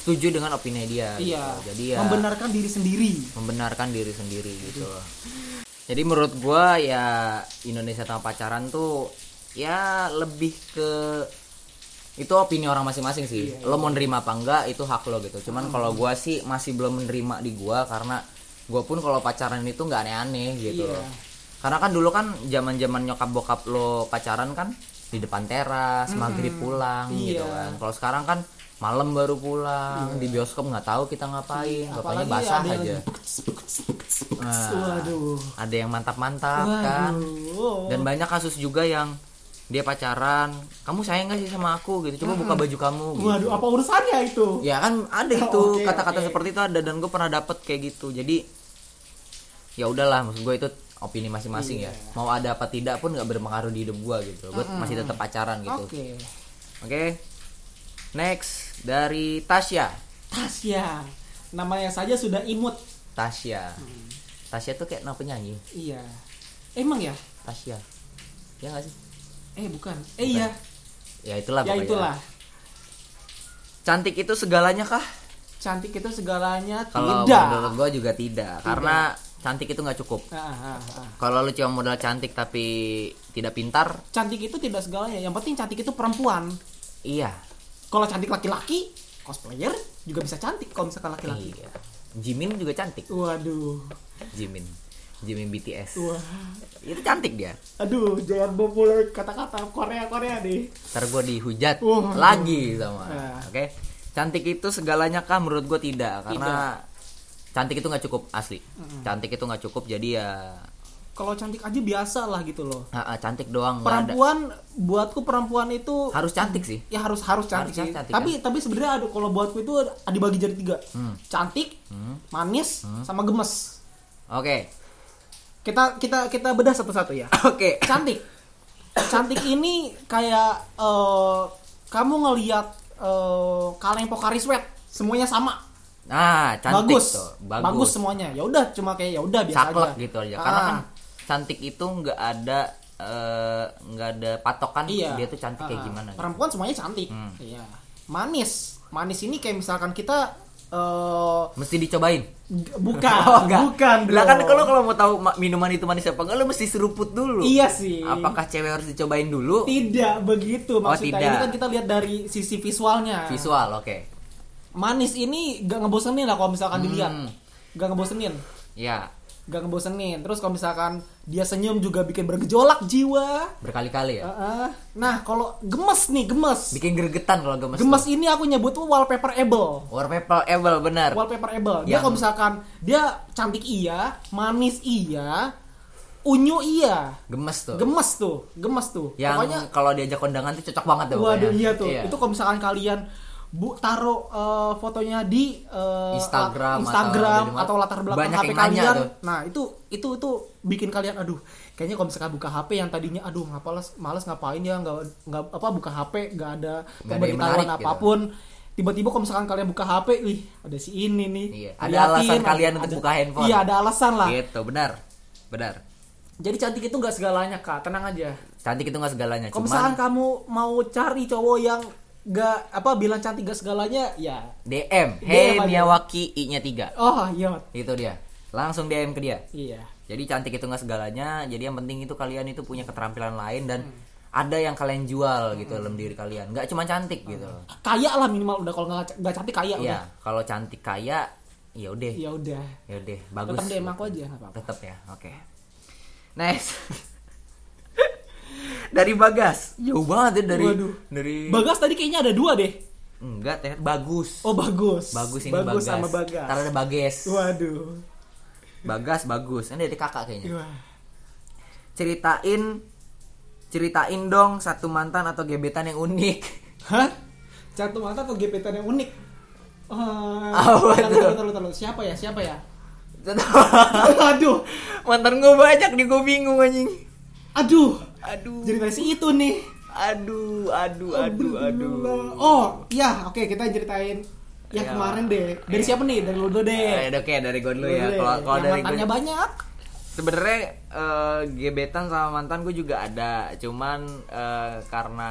setuju dengan opini dia.
Iya.
gitu. Jadi ya
Membenarkan diri sendiri.
membenarkan diri sendiri gitu loh. Jadi menurut gua ya Indonesia tanpa pacaran tuh ya lebih ke itu opini orang masing-masing sih.
Iya,
Lo mau nerima apa enggak itu hak lo gitu.
Hmm.
Cuman kalau gua sih masih belum menerima di gua karena gua pun kalau pacaran itu nggak aneh-aneh gitu
Iya.
loh. Karena kan dulu kan zaman-zaman nyokap bokap lo pacaran kan di depan teras, maghrib pulang gitu
Hmm. Iya.
kan. Kalau sekarang kan malam baru pulang, di bioskop nggak tahu kita ngapain, bapaknya
Iya, Apalagi
basah
ada yang
aja.
bekes, bekes, bekes, bekes.
Nah,
Waduh.
ada yang mantap-mantap kan
Waduh.
dan banyak kasus juga yang dia pacaran kamu sayang gak sih sama aku gitu coba buka baju kamu gitu.
Waduh, apa urusannya itu?
ya kan ada
Oh,
itu
oke,
kata-kata
oke.
seperti itu ada dan gue pernah dapet kayak gitu jadi ya udahlah maksud gue itu opini masing-masing ya
Iya.
mau ada apa tidak pun nggak berpengaruh di hidup gue gitu gue masih tetap pacaran gitu oke
Oke.
next dari Tasya
Tasya. ya. Namanya saja sudah imut.
Tasya
Mm-hmm.
Tasya tuh kayak nama penyanyi
Iya. Emang ya?
Tasya ya nggak sih
Eh, bukan. Eh, iya.
ya itulah
Ya
pokoknya.
itulah.
cantik itu segalanya kah
Cantik itu segalanya
Kalau
tidak.
menurut gue juga tidak, karena cantik itu nggak cukup.
Ah, ah, ah.
Kalau lu cuma modal cantik tapi tidak pintar,
Cantik itu tidak segalanya. Yang penting cantik itu perempuan.
iya,
Kalau cantik laki-laki, cosplayer juga bisa cantik kalau misalkan laki-laki.
iya. Jimin juga cantik.
Waduh.
Jimin, Jimin BTS.
Wah.
Itu cantik dia.
Aduh, jangan memulai kata-kata Korea-Korea deh.
Ntar gue dihujat
Wah.
lagi sama.
Nah.
Oke, cantik itu segalanya kah? Menurut gue tidak, karena cantik itu nggak cukup asli. Cantik itu nggak cukup, jadi ya
Kalau cantik aja biasa lah gitu loh.
ah, ah, cantik doang. nggak ada.
Perempuan buatku perempuan itu
harus cantik sih.
ya harus harus cantik,
Harus
sih.
cantik, kan?
tapi tapi sebenarnya aduh kalau buatku itu ada ada dibagi jadi tiga
Hmm.
cantik manis sama gemes
Oke,
kita kita kita bedah satu-satu ya
oke.
cantik cantik ini kayak eh, kamu ngelihat eh, kaleng pokari sweat semuanya sama
Nah, cantik
bagus.
tuh.
bagus semuanya ya udah cuma kayak ya udah biasa
saklek
aja
gitu aja
Ah,
karena kan cantik itu nggak ada eh, nggak ada patokan
iya
dia tuh cantik kayak
Ah,
gimana gitu.
perempuan semuanya cantik iya manis manis ini kayak misalkan kita eh,
mesti dicobain
Bukan, Ah, bukan.
Oh, lah kan
dong.
kalau kalau mau tahu ma- minuman itu manis apa enggak lu mesti seruput dulu
Iya sih. Iya.
apakah cewek harus dicobain dulu
tidak begitu maksudnya
tidak.
ini kan kita lihat dari sisi visualnya.
visual oke
Manis ini gak ngebosenin lah kalau misalkan dilihat.
Hmm.
Gak ngebosenin.
ya
Gak ngebosenin. Terus kalau misalkan dia senyum juga bikin bergejolak jiwa.
berkali-kali ya
Heeh. Nah, kalau gemes nih, gemes.
bikin gergetan kalau gemes
Gemes ini aku nyebut wallpaper able.
wallpaper able benar
wallpaper able. Dia
Yang-
kalau misalkan dia cantik iya, manis iya, unyu iya.
gemes tuh
Gemes tuh, gemes tuh.
yang
Pokoknya
kalau diajak kondangan tuh cocok banget tuh ya.
Waduh
pokoknya.
iya tuh. Itu kalau misalkan kalian bu taruh eh, fotonya di eh,
Instagram
la- Instagram
atau di-
atau, latar belakang
banyak
HP
yang nanya
kalian.
tuh.
Nah, itu itu itu bikin kalian aduh, kayaknya kalau misalkan buka HP yang tadinya aduh ngapalas males ngapain ya nggak nggak apa buka HP nggak ada
Nggak ada yang
pemberitahuan
menarik gitu.
apapun. Tiba-tiba kalau misalkan kalian buka HP, wih ada si ini nih.
Iya, ada
Liatin,
alasan kalian untuk
ada-
buka handphone.
Iya, ada alasan lah.
gitu benar benar
Jadi cantik itu nggak segalanya, Kak. Tenang aja.
cantik itu nggak segalanya
Kalau
cuman
misalkan kamu mau cari cowok yang gak apa bilang cantik gak segalanya, ya.
DM,
DM
hey
aja.
Miyawaki I-nya 3.
Oh iya, Mat.
Itu dia. Langsung DM ke dia.
iya.
Jadi cantik itu nggak segalanya, jadi yang penting itu kalian itu punya keterampilan lain dan
Hmm.
ada yang kalian jual gitu dalam diri kalian. Nggak cuma cantik gitu.
Kaya lah minimal udah kalau nggak nggak cantik kaya udah.
Iya, kalau cantik kaya ya udah.
Ya udah.
Ya udah, bagus.
Tetap DM aku aja nggak apa-apa.
Tetep ya. Oke. Next. dari Bagas. Jauh banget ya dari
Waduh.
dari
Bagas tadi kayaknya ada dua deh.
Enggak, Teh. bagus.
Oh bagus.
Bagus ini
bagus
Bagas.
sama Bagas.
Ntar ada Bagas.
Waduh. Iya.
Bagas bagus. Ini dari kakak kayaknya.
Wah.
ceritain ceritain dong satu mantan atau gebetan yang unik.
Hah? Satu mata atau gebetan yang unik? Eh,
Apa
bentar,
tuh?
bentar, bentar, bentar. Siapa ya? Siapa ya?
Aduh, mantan gue banyak nih gue bingung anjing.
Aduh,
Aduh,
ceritanya si itu nih.
aduh, aduh, aduh, aduh.
Oh, iya, oke kita ceritain yang
Ya.
kemarin deh. Dari siapa nih? Dari Ludo
Eh,
deh.
Oke, dari gue dulu
Ludo
ya.
deh.
Kalau kalau
Yang
dari
mantannya
gua-
banyak.
sebenarnya eh, gebetan sama mantan gue juga ada, cuman eh, karena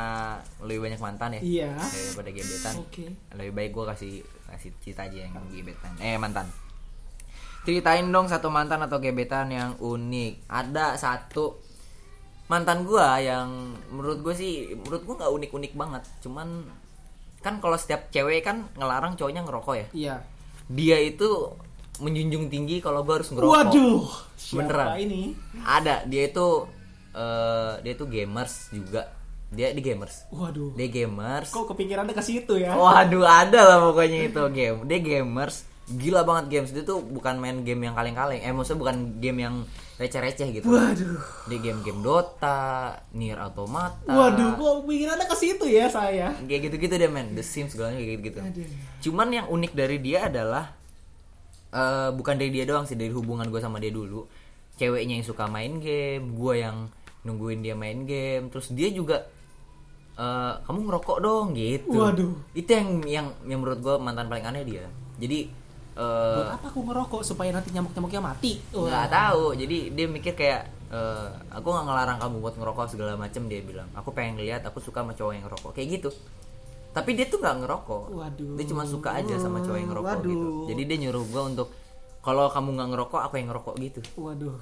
lebih banyak mantan ya
Iya.
daripada gebetan.
Oke.
Lebih baik gue kasih kasih cita aja yang gebetan. Eh mantan. Ceritain dong satu mantan atau gebetan yang unik. Ada satu mantan gua yang menurut gue sih menurut gue nggak unik-unik banget. Cuman kan kalau setiap cewek kan ngelarang cowoknya ngerokok ya.
Iya.
Dia itu menjunjung tinggi kalau gue harus ngerokok
Waduh. Siapa
Beneran.
ini?
ada dia itu eh dia itu gamers juga dia di gamers
Waduh.
dia Oh. gamers
Kok kepikirannya ke situ ya?
waduh ada lah pokoknya itu game dia gamers gila banget games dia tuh bukan main game yang kaleng-kaleng eh maksudnya bukan game yang receh-receh gitu
Waduh.
dia game-game Dota Nier Automata
Waduh, kok pikirannya ke situ ya saya?
kayak gitu-gitu deh men The Sims segalanya kayak gitu-gitu cuman yang unik dari dia adalah eh bukan dari dia doang sih dari hubungan gue sama dia dulu ceweknya yang suka main game gue yang nungguin dia main game terus dia juga eh kamu ngerokok dong gitu
Waduh.
itu yang yang yang menurut gue mantan paling aneh dia jadi eh
Buat apa aku ngerokok supaya nanti nyamuk-nyamuknya mati? Wah.
nggak tahu jadi dia mikir kayak eh, aku nggak ngelarang kamu buat ngerokok segala macem dia bilang aku pengen lihat aku suka sama cowok yang ngerokok kayak gitu tapi dia tuh nggak ngerokok
Waduh.
dia cuma suka aja sama cowok yang ngerokok
Waduh.
gitu jadi dia nyuruh gua untuk kalau kamu nggak ngerokok aku yang ngerokok gitu
Waduh.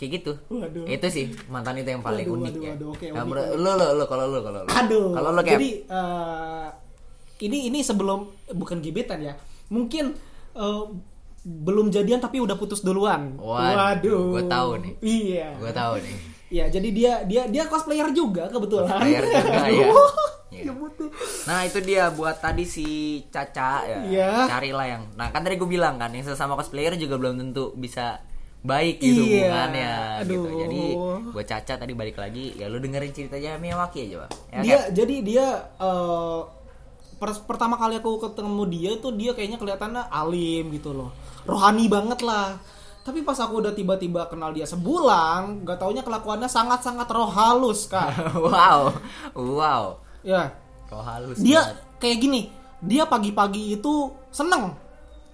kayak gitu
Waduh.
itu sih mantan itu yang paling
Waduh,
unik
waduh,
ya
waduh, oke,
Nah,
unik,
menurut- lo lo lo kalau lo kalau lo
Aduh.
kalau lo kayak
Jadi eh, ini ini sebelum bukan gebetan ya. Mungkin eh, belum jadian tapi udah putus duluan.
Waduh, gua tahu nih.
Iya.
gue tahu nih
Iya, jadi dia dia dia cosplayer juga kebetulan.
Cosplayer juga, ya.
Aduh,
Iya.
nyebut tuh.
Nah itu dia buat tadi si Caca ya.
Iya.
Carilah yang. Nah kan tadi gue bilang kan yang sesama cosplayer juga belum tentu bisa baik gitu
Iya.
hubungannya gitu.
Aduh.
Jadi buat Caca tadi balik lagi ya lu dengerin ceritanya Miyawaki aja bang. Ya,
dia
Cap?
jadi dia eh, per- pertama kali aku ketemu dia tuh dia kayaknya kelihatannya alim gitu loh rohani banget lah tapi pas aku udah tiba-tiba kenal dia sebulan gak taunya kelakuannya sangat-sangat roh halus kak
wow, wow,
ya
kau halus.
dia
banget.
kayak gini dia pagi-pagi itu seneng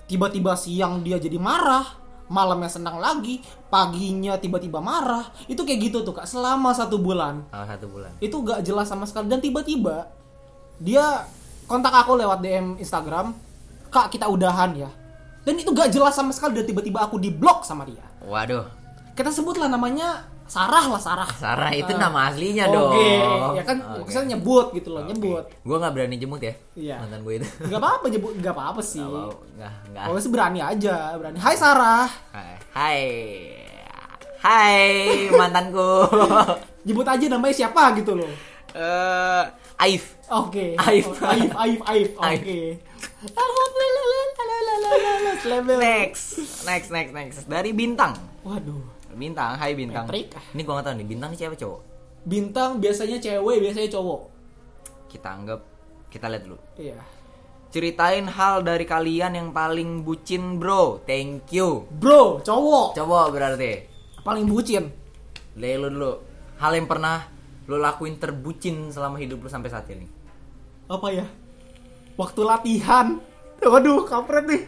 tiba-tiba siang dia jadi marah malamnya senang lagi paginya tiba-tiba marah itu kayak gitu tuh kak selama satu bulan
Salah satu bulan.
itu gak jelas sama sekali dan tiba-tiba dia kontak aku lewat DM Instagram kak kita udahan ya dan itu gak jelas sama sekali dan tiba-tiba aku di blok sama dia
Waduh,
kita sebutlah namanya Sarah lah Sarah
Sarah itu nama aslinya
Ah. oke
Iya dong.
ya kan
Oke.
saya nyebut gitu loh nyebut
Gue nggak berani jemput ya.
Iya. Oh,
Mantan gue itu.
nggak apa-apa nyebut nggak apa-apa sih
Nggak mau, nggak nggak.
kalau sih berani aja berani Hai Sarah
Hai, hai mantanku.
nyebut aja namanya siapa gitu loh
eh Aif.
Oke.
Aif.
Oh, Aif, Aif, Aif.
Aif.
Oke. Alhamdulillah. Level.
Next, next, next, next. Dari bintang.
Waduh.
Bintang, hai bintang.
Patrick.
Ini gua nggak tahu nih bintang ini siapa cowok.
Bintang biasanya cewek, biasanya cowok.
Kita anggap kita lihat dulu.
Iya.
Ceritain hal dari kalian yang paling bucin, Bro. Thank you.
Bro, cowok
Coba berarti.
paling bucin.
Dari lu dulu. Hal yang pernah lu lakuin terbucin selama hidup lu sampai saat ini.
Apa ya? Waktu latihan. Waduh, kampret nih.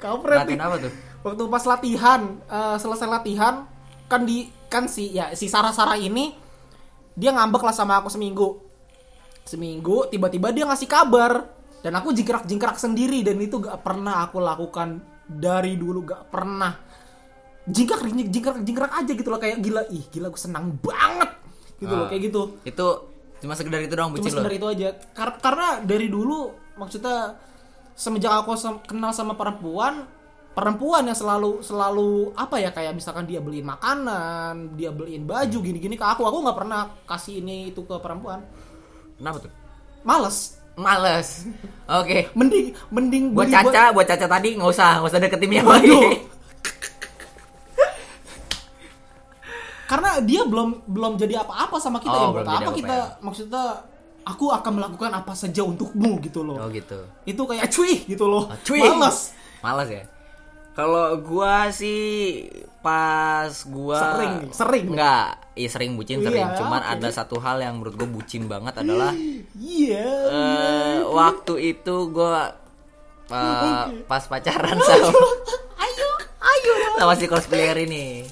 Kampret
Latihan
nih.
apa tuh?
Waktu pas latihan, eh, selesai latihan kan di kan si ya si Sarah-Sarah ini dia ngambek lah sama aku seminggu. Seminggu tiba-tiba dia ngasih kabar dan aku jingkrak-jingkrak sendiri dan itu gak pernah aku lakukan dari dulu gak pernah jingkrak jingkrak jingkrak aja gitu loh kayak gila ih gila gue senang banget gitu loh
Ah.
kayak gitu
Itu cuma sekedar itu doang
cuma
bucin lu.
sekedar itu aja Kar- karena dari dulu maksudnya semenjak aku sem- kenal sama perempuan perempuan yang selalu selalu apa ya kayak misalkan dia beliin makanan dia beliin baju gini-gini ke aku aku nggak pernah kasih ini itu ke perempuan
Kenapa tuh?
males
Males. Oke.
mending mending
buat
beli
Caca, buat Caca tadi nggak usah, nggak usah deketin yang
Waduh.
lagi.
karena dia belum belum jadi apa-apa sama kita
Oh,
ya
belum
buat
jadi
apa kita maksudnya aku akan melakukan apa saja untukmu gitu loh
Oh gitu.
itu kayak cuy gitu loh
Ah, cuy.
males
Malas ya. Kalau gua sih pas gua
Sering, sering.
Enggak, iya sering bucin sering.
Iya,
Cuman
oke.
ada satu hal yang menurut gua bucin banget adalah
iya Iya,
eh, waktu itu gua eh, pas pacaran sama
ayo ayo
sama si cosplayer ini.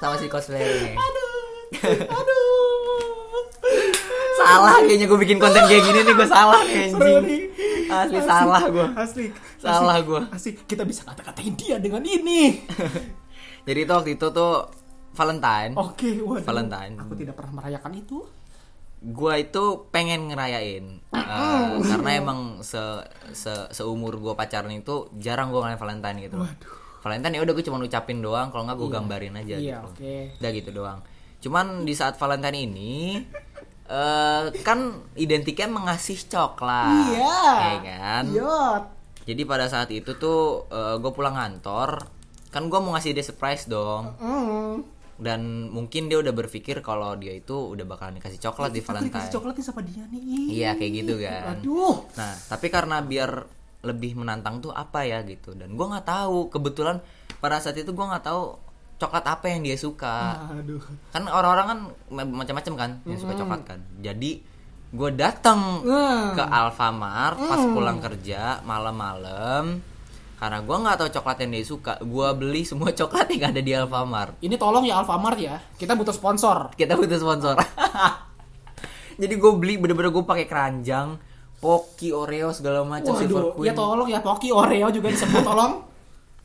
Sama si cosplayer ini.
aduh
Salah kayaknya gua bikin konten kayak gini nih gua salah nih, anjing. Asli salah gua.
Asli.
Salah
Asli.
gua.
Asli, kita bisa kata-katain dia dengan ini.
Jadi itu waktu itu tuh Valentine.
Oke, waduh.
Valentine.
Aku tidak pernah merayakan itu.
gua itu pengen ngerayain Eh, karena emang se, se- seumur gua pacaran itu jarang gua ngerayain Valentine gitu loh. Valentine ya udah gue cuma ucapin doang kalau nggak gue gambarin aja
Iya,
gitu.
oke.
Udah gitu doang. Cuman di saat Valentine ini eh kan identiknya mengasih coklat.
Iya.
Ya kan?
Yot.
Jadi pada saat itu tuh gue pulang kantor, kan gua mau ngasih dia surprise dong
Mm.
dan mungkin dia udah berpikir kalau dia itu udah bakalan dikasih coklat di
Aku dikasih
Valentine.
coklat nih sama dia nih. Ih.
Iya kayak gitu kan.
Aduh.
Nah tapi karena biar lebih menantang tuh apa ya gitu dan gua nggak tahu kebetulan pada saat itu gua nggak tahu coklat apa yang dia suka
Aduh.
kan orang-orang kan ma- macam-macam kan yang suka coklat kan jadi gua datang
Hmm.
ke Alfamart pas
Mm.
pulang kerja malam-malam karena gua nggak tahu coklat yang dia suka gua beli semua coklat yang ada di Alfamart
Ini tolong ya Alfamart ya. Kita butuh sponsor.
kita butuh sponsor jadi gue beli bener-bener gue pakai keranjang poki oreo segala macam silver
Waduh,
queen
ya tolong ya Poki Oreo juga disebut tolong.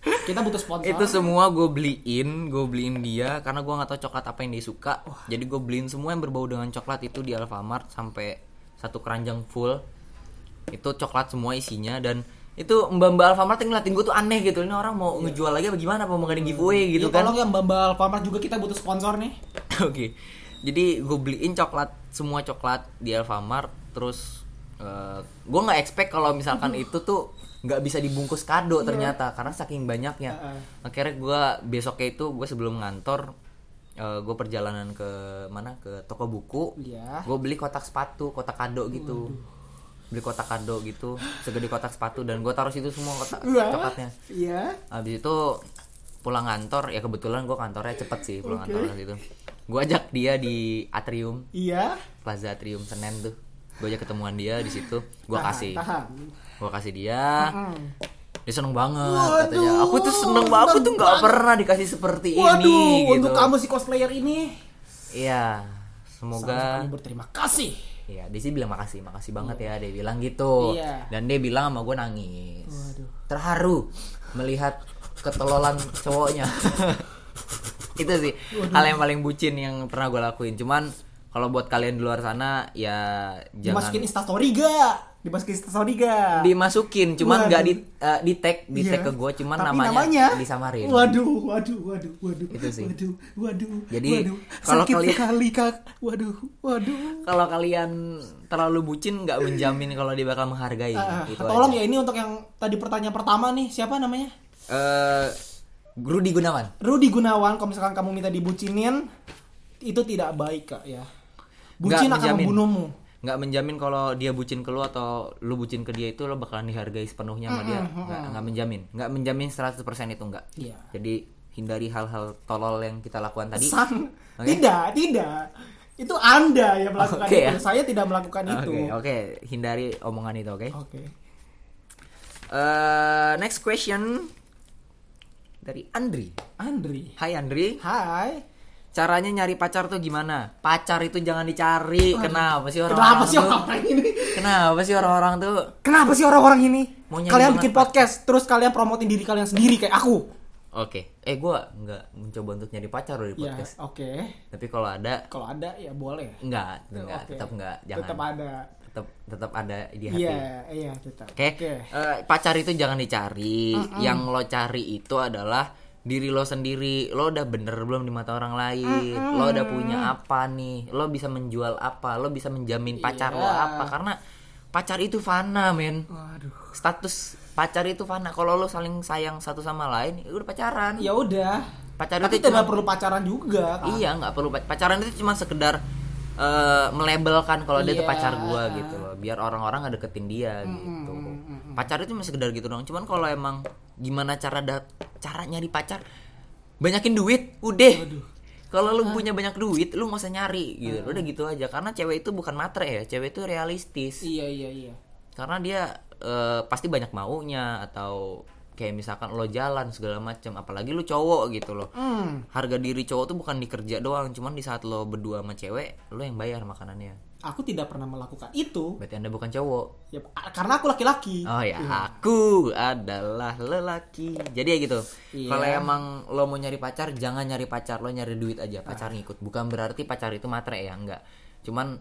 Kita butuh sponsor.
itu semua gue beliin gue beliin dia karena gue nggak tahu coklat apa yang dia suka jadi gue beliin semua yang berbau dengan coklat itu di alfamart sampai satu keranjang full itu coklat semua isinya dan itu mbak mbak alfamart yang ngeliatin gue tuh aneh gitu ini orang mau ngejual lagi apa gimana apa mau ngadain giveaway gitu
ya,
kan
Tolong ya Mbak Mbak Alfamart juga kita butuh sponsor nih.
Oke. Jadi gue beliin coklat semua coklat di Alfamart terus eh, gue nggak expect kalau misalkan itu tuh nggak bisa dibungkus kado ternyata karena saking banyaknya. Akhirnya gue besoknya itu gue sebelum ngantor gue perjalanan ke mana ke toko buku.
Iya.
Gue beli kotak sepatu, kotak kado gitu. Beli kotak kado gitu, segede kotak sepatu dan gue taruh situ semua kotak
Wah.
coklatnya.
Iya.
Habis itu pulang kantor ya kebetulan gue kantornya cepet sih pulang kantor waktu itu. Gue ajak dia di atrium
Iya.
Plaza Atrium Senen tuh. Gue ajak ketemuan dia di situ. Gue
Tahan,
kasih,
Tahan.
gue kasih dia.
Mm.
Dia seneng banget
Waduh,
katanya. Aku tuh seneng banget. Aku
seneng
tuh nggak
banget.
pernah dikasih seperti
Waduh,
ini.
untuk
gitu.
kamu si cosplayer ini.
Iya. Semoga
Kami berterima kasih.
Iya, dia sih bilang makasih, makasih banget ya. Dia bilang gitu.
Iya.
Dan dia bilang sama gue nangis.
Waduh.
Terharu melihat ketelolan cowoknya. Itu sih hal yang paling bucin yang pernah gue lakuin. Cuman kalau buat kalian di luar sana ya jangan
Dimasukin instastory gak? Dimasukin instastory gak?
dimasukin, cuman
Waduh.
nggak di eh, di tag, di
Iya.
tag ke gue, cuman
Tapi
namanya, disamarin.
Waduh, waduh, waduh, waduh.
Itu sih.
Waduh, waduh.
Jadi,
waduh.
kalau
sakit
kalian-
sekali kak. Waduh, waduh.
Kalau kalian terlalu bucin nggak menjamin kalau dia bakal menghargai.
Ah,
Gitu
tolong
aja.
ya ini untuk yang tadi pertanyaan pertama nih siapa namanya?
Eh, Rudy Gunawan.
Rudi Gunawan. Kalau misalkan kamu minta dibucinin, itu tidak baik kak ya. Bucin
Nggak
akan
menjamin.
membunuhmu.
nggak menjamin kalau dia bucin ke lu atau lu bucin ke dia itu lo bakalan dihargai sepenuhnya sama dia nggak, nggak menjamin nggak menjamin 100% itu nggak
Iya.
jadi hindari hal-hal tolol yang kita lakukan tadi
Sang-
Oke.
Tidak, tidak. Itu Anda yang melakukan
Oke,
itu.
ya.
Saya tidak melakukan
oke
itu.
oke hindari omongan itu oke
Oke.
Eh, next question dari Andri
Andri.
Hai Andri
Hai.
caranya nyari pacar tuh gimana pacar itu jangan dicari kenapa sih orang
Kenapa sih
tuh
orang-orang ini?
kenapa sih orang-orang tuh
Kenapa sih orang-orang ini?
Mau nyanyi
kalian
banget,
bikin
Pak.
podcast, terus kalian promotin diri kalian sendiri kayak aku.
Oke, eh gua nggak mencoba untuk nyari pacar loh di
Ya,
podcast.
oke.
Tapi kalau ada
Kalau ada ya boleh.
Enggak, enggak,
Oke.
tetap enggak, jangan.
Tetap ada.
Tetap tetap ada di hati.
Iya, iya tetap.
Oke. Eh, pacar itu jangan dicari. Yang lo cari itu adalah diri lo sendiri. Lo udah bener belum di mata orang lain? Lo udah punya apa nih? Lo bisa menjual apa? Lo bisa menjamin pacar lo
Iya.
apa? Karena pacar itu fana, men.
Waduh.
Status pacar itu fana. Kalau lo saling sayang satu sama lain, ya udah pacaran.
Ya udah.
pacaran
Tapi
itu cuma
tidak perlu pacaran juga kan.
iya nggak perlu pac- pacaran itu cuma sekedar eh, melebelkan kalau dia itu
Iya.
pacar gua gitu loh biar orang-orang nggak deketin dia gitu pacar itu cuma sekedar gitu dong cuman kalau emang gimana cara da- cara nyari pacar banyakin duit udah kalau lu punya banyak duit lu nggak usah nyari gitu udah gitu aja karena cewek itu bukan matre ya cewek itu realistis
Iya iya iya.
karena dia eh, pasti banyak maunya atau kayak misalkan lo jalan segala macam apalagi lu cowok gitu loh
Hmm,
harga diri cowok tuh bukan di kerja doang cuman di saat lo berdua sama cewek lo yang bayar makanannya
aku tidak pernah melakukan itu.
berarti anda bukan cowok
Ya, karena aku laki-laki.
oh ya aku adalah lelaki jadi ya gitu
Iya.
kalau emang lo mau nyari pacar jangan nyari pacar lo nyari duit aja pacar
Ah.
ngikut bukan berarti pacar itu matre ya enggak cuman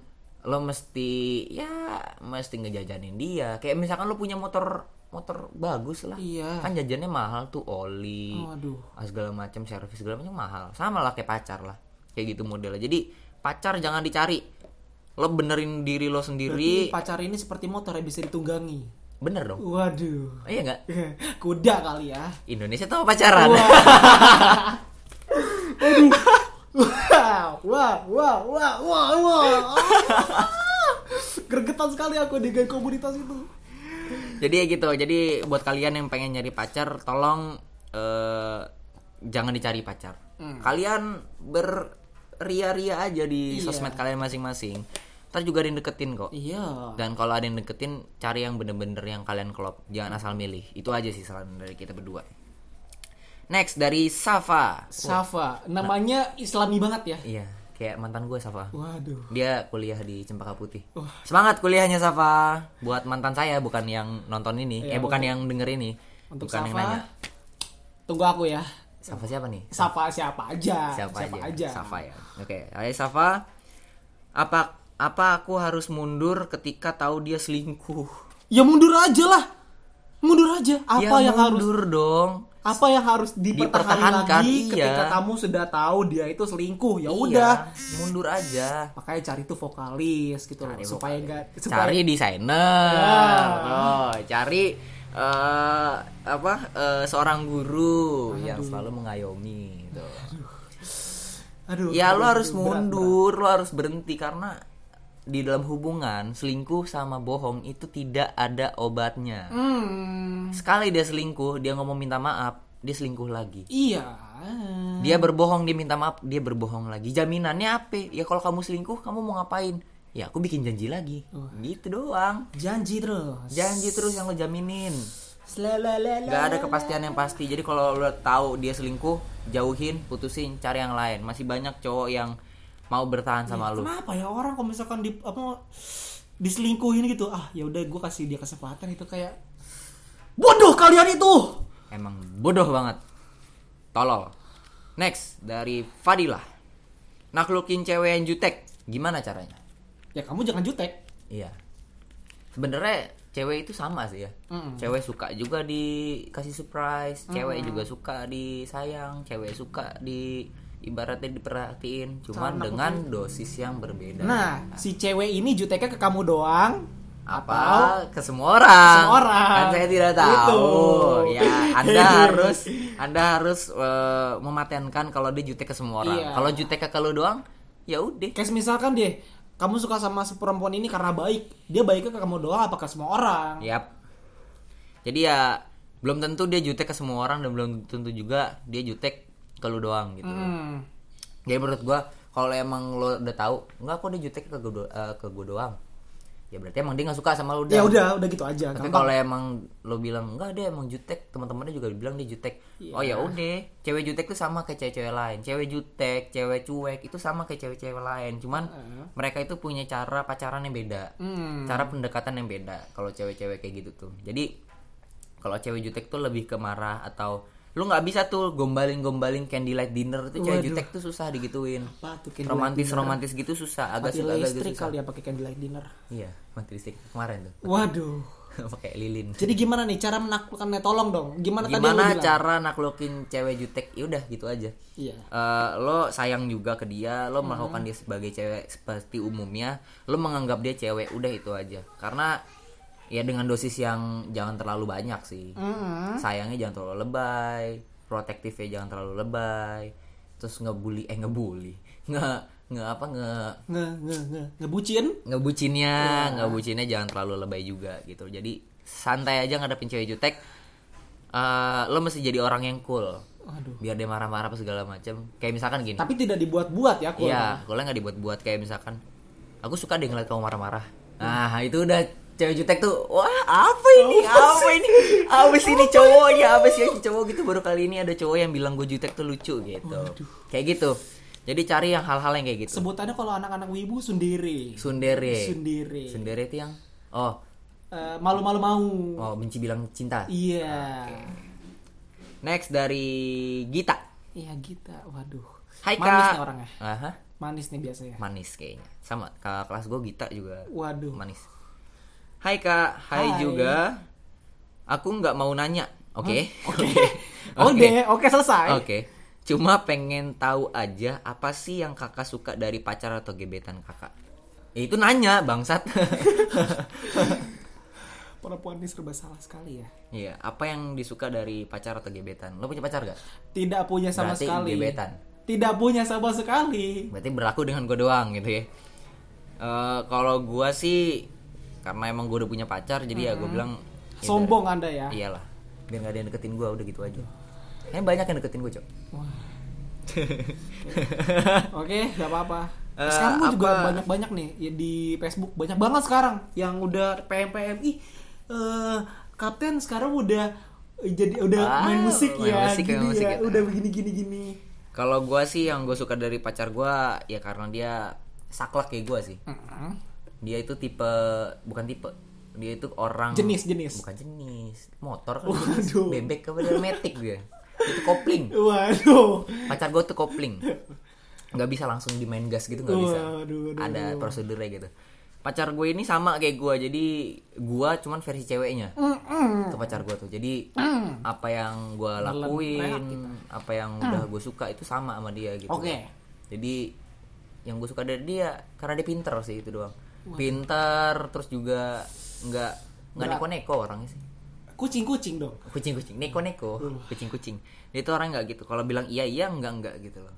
lo mesti ya mesti ngejajanin dia kayak misalkan lo punya motor motor bagus lah
Iya.
kan jajannya mahal tuh oli
Waduh.
Ah, segala macam servis segala macam mahal sama lah kayak pacar lah kayak gitu modelnya jadi pacar jangan dicari lo benerin diri lo
Berarti
sendiri
pacar ini seperti motor yang bisa ditunggangi.
bener dong
Waduh.
iya nggak
Kuda kali ya.
Indonesia tuh pacaran
Wow, wow, wow, wow, wow, wow. Gergetan sekali aku dengan komunitas itu.
jadi ya gitu jadi buat kalian yang pengen nyari pacar tolong eh, jangan dicari pacar
Hmm.
kalian berria-ria aja di
Iya.
sosmed kalian masing-masing ntar juga ada yang deketin kok
Iya.
dan kalau ada yang deketin cari yang bener-bener yang kalian klop jangan asal milih itu aja sih saran dari kita berdua next dari Safa
Safa, namanya Islami banget ya.
iya kayak mantan gue Safa
Waduh.
dia kuliah di Cempaka Putih semangat kuliahnya Safa buat mantan saya bukan yang nonton ini eh
Iya,
bukan yang denger ini
Untuk
bukan yang
Safa,
nanya
Tunggu aku ya.
Safa siapa nih
Safa Ah, siapa aja?
siapa, aja?
aja?
Safa ya. Oke, Hai Safa. Apa apa aku harus mundur ketika tahu dia selingkuh?
Ya mundur aja lah. Mundur aja. Apa
ya
yang harus
mundur dong.
apa yang harus dipertahankan
Dipertahankan,
lagi
iya.
ketika kamu sudah tahu dia itu selingkuh?
Iya,
Ya udah.
mundur aja.
Makanya cari tuh vokalis gitu loh,
Cari
supaya enggak
Cari
ya?
desainer. Oh, cari eh, apa eh, seorang guru yang selalu mengayomi gitu.
Aduh.
Ya lu
aduh,
harus
berat,
mundur, lu harus berhenti karena di dalam hubungan selingkuh sama bohong itu tidak ada obatnya.
berat. Hmm.
Sekali dia selingkuh, dia ngomong minta maaf, dia selingkuh lagi.
Iya.
Dia berbohong, dia minta maaf, dia berbohong lagi. Jaminannya apa? Ya kalau kamu selingkuh, kamu mau ngapain? Ya aku bikin janji lagi. Gitu doang.
Janji terus.
Janji terus yang lo jaminin.
Lalalala.
Gak ada kepastian yang pasti. Jadi kalau lo tahu dia selingkuh, jauhin, putusin, cari yang lain. Masih banyak cowok yang mau bertahan sama lo.
Kenapa ya orang kalau misalkan di apa diselingkuhin gitu? Ah, ya udah gue kasih dia kesempatan itu kayak bodoh kalian itu.
Emang bodoh banget. Tolol. Next dari Fadilah. Naklukin cewek yang jutek, gimana caranya?
Ya kamu jangan jutek.
Iya. Sebenarnya cewek itu sama sih ya. Cewek suka juga dikasih surprise, cewek juga suka disayang, cewek suka di ibaratnya diperhatiin, cuman dengan dosis yang berbeda.
Nah, si cewek ini juteknya ke kamu doang.
apa ke semua orang?
Semua orang.
Kan saya tidak
Gitu.
tahu. Ya, Anda harus Anda harus eh, mematenkan kalau dia jutek ke semua orang.
Iya.
Kalau jutek ke lu doang, ya udah.
Kayak misalkan deh, kamu suka sama si perempuan ini karena baik. Dia baiknya ke kamu doang apakah semua orang?
Yap. Jadi ya belum tentu dia jutek ke semua orang dan belum tentu juga dia jutek ke lu doang gitu.
Hmm.
Jadi menurut gua kalau emang lo udah tahu, enggak kok dia jutek ke gua, do- eh, ke gua doang. Ya berarti emang dia nggak suka sama lu
Ya
doang.
udah, udah gitu aja.
Tapi
gampang.
kalau emang lo bilang enggak dia emang jutek, teman-temannya juga bilang dia jutek.
Iya.
Oh ya udah, cewek jutek tuh sama kayak cewek-cewek lain. Cewek jutek, cewek cuek itu sama kayak cewek-cewek lain. Cuman mereka itu punya cara pacaran yang beda
Hmm.
cara pendekatan yang beda kalau cewek-cewek kayak gitu tuh jadi kalau cewek jutek tuh lebih ke marah atau lu nggak bisa tuh gombalin-gombalin candy light dinner tuh cewek
Waduh.
jutek tuh susah digituin
Apa tuh candlelight
romantis
dinner?
romantis gitu susah agak
Mati
susah agak
listrik
susah
kali ya pakai candlelight dinner.
iya mati listrik kemarin tuh
Waduh.
pakai lilin
Jadi gimana nih cara menaklukkannya? Tolong dong. Gimana, tadi yang lu
gimana
bilang?
cara naklukin cewek jutek ya udah gitu aja
Iya.
Eh, lo sayang juga ke dia, lo melakukan dia sebagai cewek seperti umumnya, lo menganggap dia cewek, udah itu aja. Karena ya dengan dosis yang jangan terlalu banyak sih. Sayangnya jangan terlalu lebay, protektifnya jangan terlalu lebay terus ngebully eh ngebully nge nge apa nge
nge nge nge ngebucin
ngebucinnya ngebucinnya jangan terlalu lebay juga gitu jadi santai aja ngadepin cewek jutek Eh, lo mesti jadi orang yang cool
Aduh.
biar dia marah-marah apa segala macem kayak misalkan gini
tapi tidak dibuat-buat ya kul
Iya, kalau nggak dibuat-buat kayak misalkan, aku suka deh ngeliat kamu marah-marah. Nah, itu udah cewek jutek tuh, wah apa ini, apa, ini, apa sih ini cowoknya, apa sih ini cowok gitu. Baru kali ini ada cowok yang bilang gue jutek tuh lucu gitu. Kayak gitu. Jadi cari yang hal-hal yang kayak gitu.
sebutannya kalau anak-anak wibu sendiri
Sundere.
Sundere.
Sundere itu yang, oh,
Eh, malu-malu mau
oh benci bilang cinta.
iya
Next dari Gita.
iya Gita waduh
Hai kak.
manis nih orangnya
Aha,
manis nih biasanya
manis kayaknya. Sama kakak kelas gue Gita juga.
waduh
manis. Hai kak, hai,
Hai.
juga. Aku nggak mau nanya, oke? Oke.
oke oke selesai
Oke. Cuma pengen tahu aja apa sih yang kakak suka dari pacar atau gebetan kakak? Ya, itu nanya bangsat.
perempuan ini serba salah sekali ya
Iya, apa yang disuka dari pacar atau gebetan? Lo punya pacar gak?
tidak punya sama
Berarti
sekali
gebetan.
tidak punya sama sekali
Berarti berlaku dengan gue doang gitu ya. Eh, kalau gua sih karena emang gue udah punya pacar, jadi ya gue bilang ya,
sombong anda ya
Iyalah, biar gak ada yang deketin gue udah gitu aja. Kayaknya banyak yang deketin gue cok.
Wah. oke nggak apa-apa
Eh,
sekarang gua juga
apa-
banyak-banyak nih ya, di Facebook banyak banget sekarang yang udah PM PM ih eh, kapten sekarang udah jadi udah
Ah,
main musik
main
ya
musik,
gini
main musik ya.
ya, udah begini gini gini
Kalau gue sih yang gue suka dari pacar gue ya karena dia saklek kayak gue sih. Dia itu tipe bukan tipe, dia itu orang
jenis jenis
bukan jenis motor kan jenis. bebek apa dia metik dia. Itu kopling.
waduh
Pacar gue tuh kopling. Nggak bisa langsung dimain gas gitu nggak bisa.
Waduh, aduh,
Ada prosedurnya gitu. Pacar gue ini sama kayak gue jadi gue cuman versi ceweknya. ke pacar gue tuh jadi
Mm.
apa yang gue lakuin apa yang udah gue suka itu sama sama dia gitu
Oke.
jadi yang gue suka dari dia karena dia pinter sih itu doang pinter terus juga nggak nggak neko-neko orangnya sih
kucing kucing dong
kucing-kucing neko-neko kucing-kucing dia itu orang nggak gitu kalau bilang iya iya nggak nggak gitu loh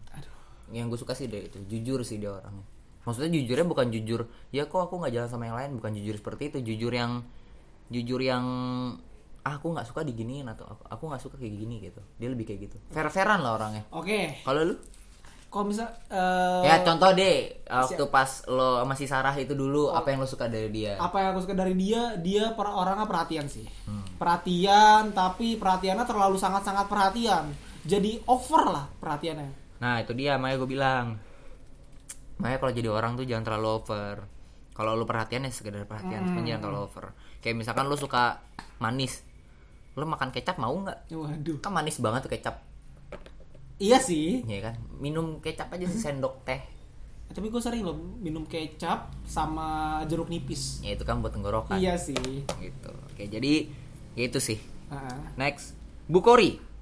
yang gue suka sih dia itu jujur sih dia orangnya maksudnya jujurnya bukan jujur ya kok aku nggak jalan sama yang lain bukan jujur seperti itu jujur yang jujur yang "Ah, aku nggak suka diginiin atau aku aku nggak suka kayak gini gitu dia lebih kayak gitu fair fairan lah orangnya
oke
kalau lu
kalau misal eh,
ya contoh deh waktu pas lo masih Sarah itu dulu apa yang lo suka dari dia
apa yang aku suka dari dia dia per orangnya perhatian sih perhatian tapi perhatiannya terlalu sangat sangat perhatian jadi over lah perhatiannya
Nah itu dia makanya gue bilang Makanya kalau jadi orang tuh jangan terlalu over Kalau lu perhatian ya sekedar
Hmm.
perhatian cuman Jangan terlalu over Kayak misalkan lu suka manis Lu makan kecap mau nggak?
waduh
Kan manis banget tuh kecap
iya sih Eh,
Iya kan? Minum kecap aja sendok teh
tapi gue sering loh minum kecap sama jeruk nipis
Ya itu kan buat tenggorokan
iya sih
Gitu Oke jadi ya itu sih
Heeh.
Next Bukori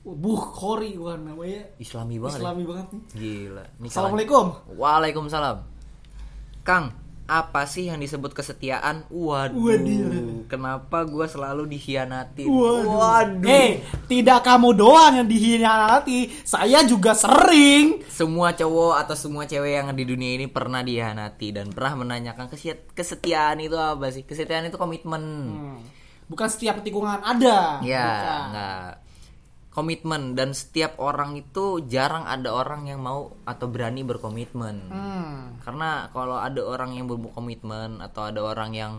buh kori wah namanya
Islami banget ya.
islami banget nih
Gila Ini salah-
assalamualaikum
Waalaikumsalam. Kang, apa sih yang disebut kesetiaan? Waduh.
Waduh.
Kenapa gua selalu dikhianatin?
Waduh.
Eh,
Eh, tidak kamu doang yang dihianati. Saya juga sering.
Semua cowok atau semua cewek yang di dunia ini pernah dikhianati dan pernah menanyakan "Kesia- kesetiaan itu apa sih? Kesetiaan itu komitmen.
Hmm. Bukan setiap tikungan ada.
Ya,
Bukan.
enggak. Komitmen dan setiap orang itu jarang ada orang yang mau atau berani berkomitmen.
Hmm.
karena kalau ada orang yang belum komitmen atau ada orang yang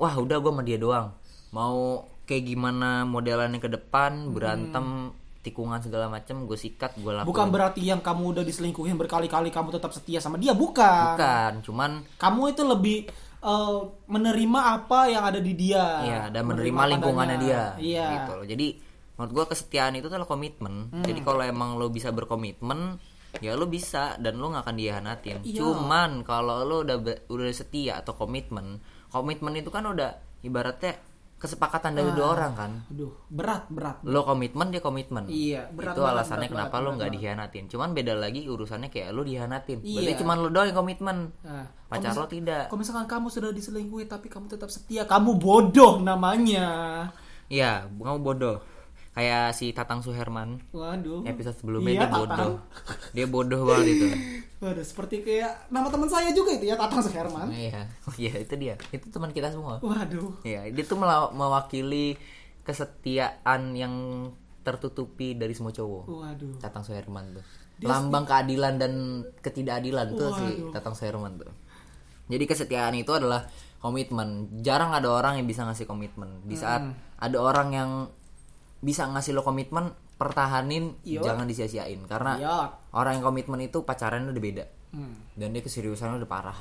wah udah gue sama dia doang mau kayak gimana modelannya ke depan berantem tikungan segala macem gue sikat gue lakukan
Bukan berarti yang kamu udah diselingkuhin berkali-kali kamu tetap setia sama dia, bukan.
bukan cuman
Kamu itu lebih eh, menerima apa yang ada di dia.
ya dan menerima
apa
lingkungannya
adanya.
dia
Ah, Iya. Hmm.
gitu loh jadi menurut gue kesetiaan itu adalah komitmen jadi kalau emang lo bisa berkomitmen ya lo bisa dan lo nggak akan dihianatin
Iya.
cuman kalau lo udah be- udah setia atau komitmen komitmen itu kan udah ibaratnya kesepakatan dari
Ah.
dua orang kan
Aduh, berat, berat.
lo komitmen dia komitmen
Iya, berat
itu
banget,
alasannya
berat
kenapa
banget,
lo
berat
nggak dihianatin cuman beda lagi urusannya kayak lo dihianatin berarti
Iya.
cuman lo doang yang komitmen
Nah,
pacar lo tidak
kalau misalkan kamu sudah diselingkuhi tapi kamu tetap setia, kamu bodoh namanya.
iya kamu bodoh kayak si Tatang Suherman
Waduh.
episode sebelumnya
Iya,
dia bodoh
Tatang.
dia bodoh banget itu
Waduh, seperti kayak nama teman saya juga itu ya Tatang Suherman.
iya iya itu dia itu teman kita semua
Waduh.
Iya, dia tuh mela- mewakili kesetiaan yang tertutupi dari semua cowok.
Waduh.
Tatang Soeherman tuh. Lambang keadilan dan ketidakadilan tuh si
Waduh.
Tatang Soeherman tuh. Jadi kesetiaan itu adalah komitmen. Jarang ada orang yang bisa ngasih komitmen. Di saat
Hmm.
ada orang yang bisa ngasih lo komitmen, pertahanin, jangan disia-siain karena
Iya.
orang yang komitmen itu pacarannya udah beda.
Hmm.
Dan dia keseriusannya udah parah.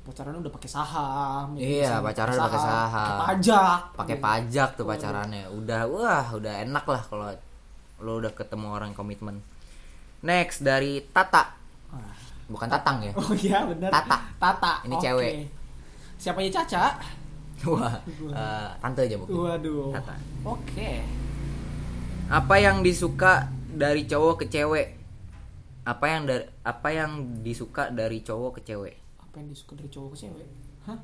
Pacaran udah pakai saham. ya,
Iya,
bisa
pacaran udah pakai saham.
pakai Pajak.
pakai pajak tuh pacarannya udah wah udah enak lah kalau lo udah ketemu orang komitmen next dari Tata bukan Tatang ya
Oh iya, benar.
Tata.
Tata.
Ini
oke.
cewek.
Siapanya Caca?
wah eh, tante aja mungkin
Waduh.
Tata.
Oke.
apa yang disuka dari cowok ke cewek apa yang dari apa yang disuka dari cowok ke cewek
Apa yang disuka dari cowok ke cewek? Hah?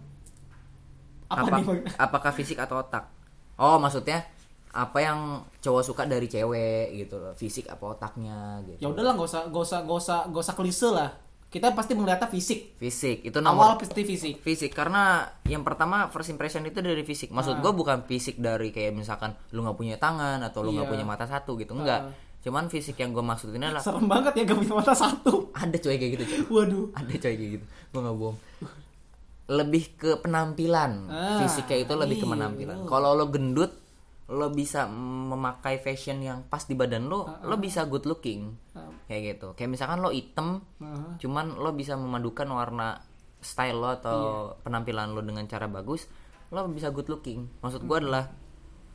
Apa,
apa
nih? Bang?
apakah fisik atau otak oh maksudnya apa yang cowok suka dari cewek gitu loh fisik apa otaknya gitu
Ya udahlah, gak usah gak usah gak usah gak usah klise lah. Kita pasti melihatnya fisik.
fisik itu
Awal
nomor
pasti fisik.
fisik karena yang pertama first impression itu dari fisik maksud gua bukan fisik dari kayak misalkan lu nggak punya tangan atau lu nggak
Iya.
punya mata satu gitu enggak cuman fisik yang gue maksudin adalah
Serem banget ya gak punya mata satu.
ada coy kayak gitu coy
Waduh.
ada coy kayak gitu gue nggak bohong lebih ke penampilan
Ah,
fisiknya itu lebih ke
iya.
penampilan kalau lo gendut lo bisa memakai fashion yang pas di badan lo
Ah,
lo bisa good looking kayak gitu kayak misalkan lo item
Ah.
cuman lo bisa memadukan warna style lo atau
Iya.
penampilan lo dengan cara bagus lo bisa good looking maksud
Hmm.
gue adalah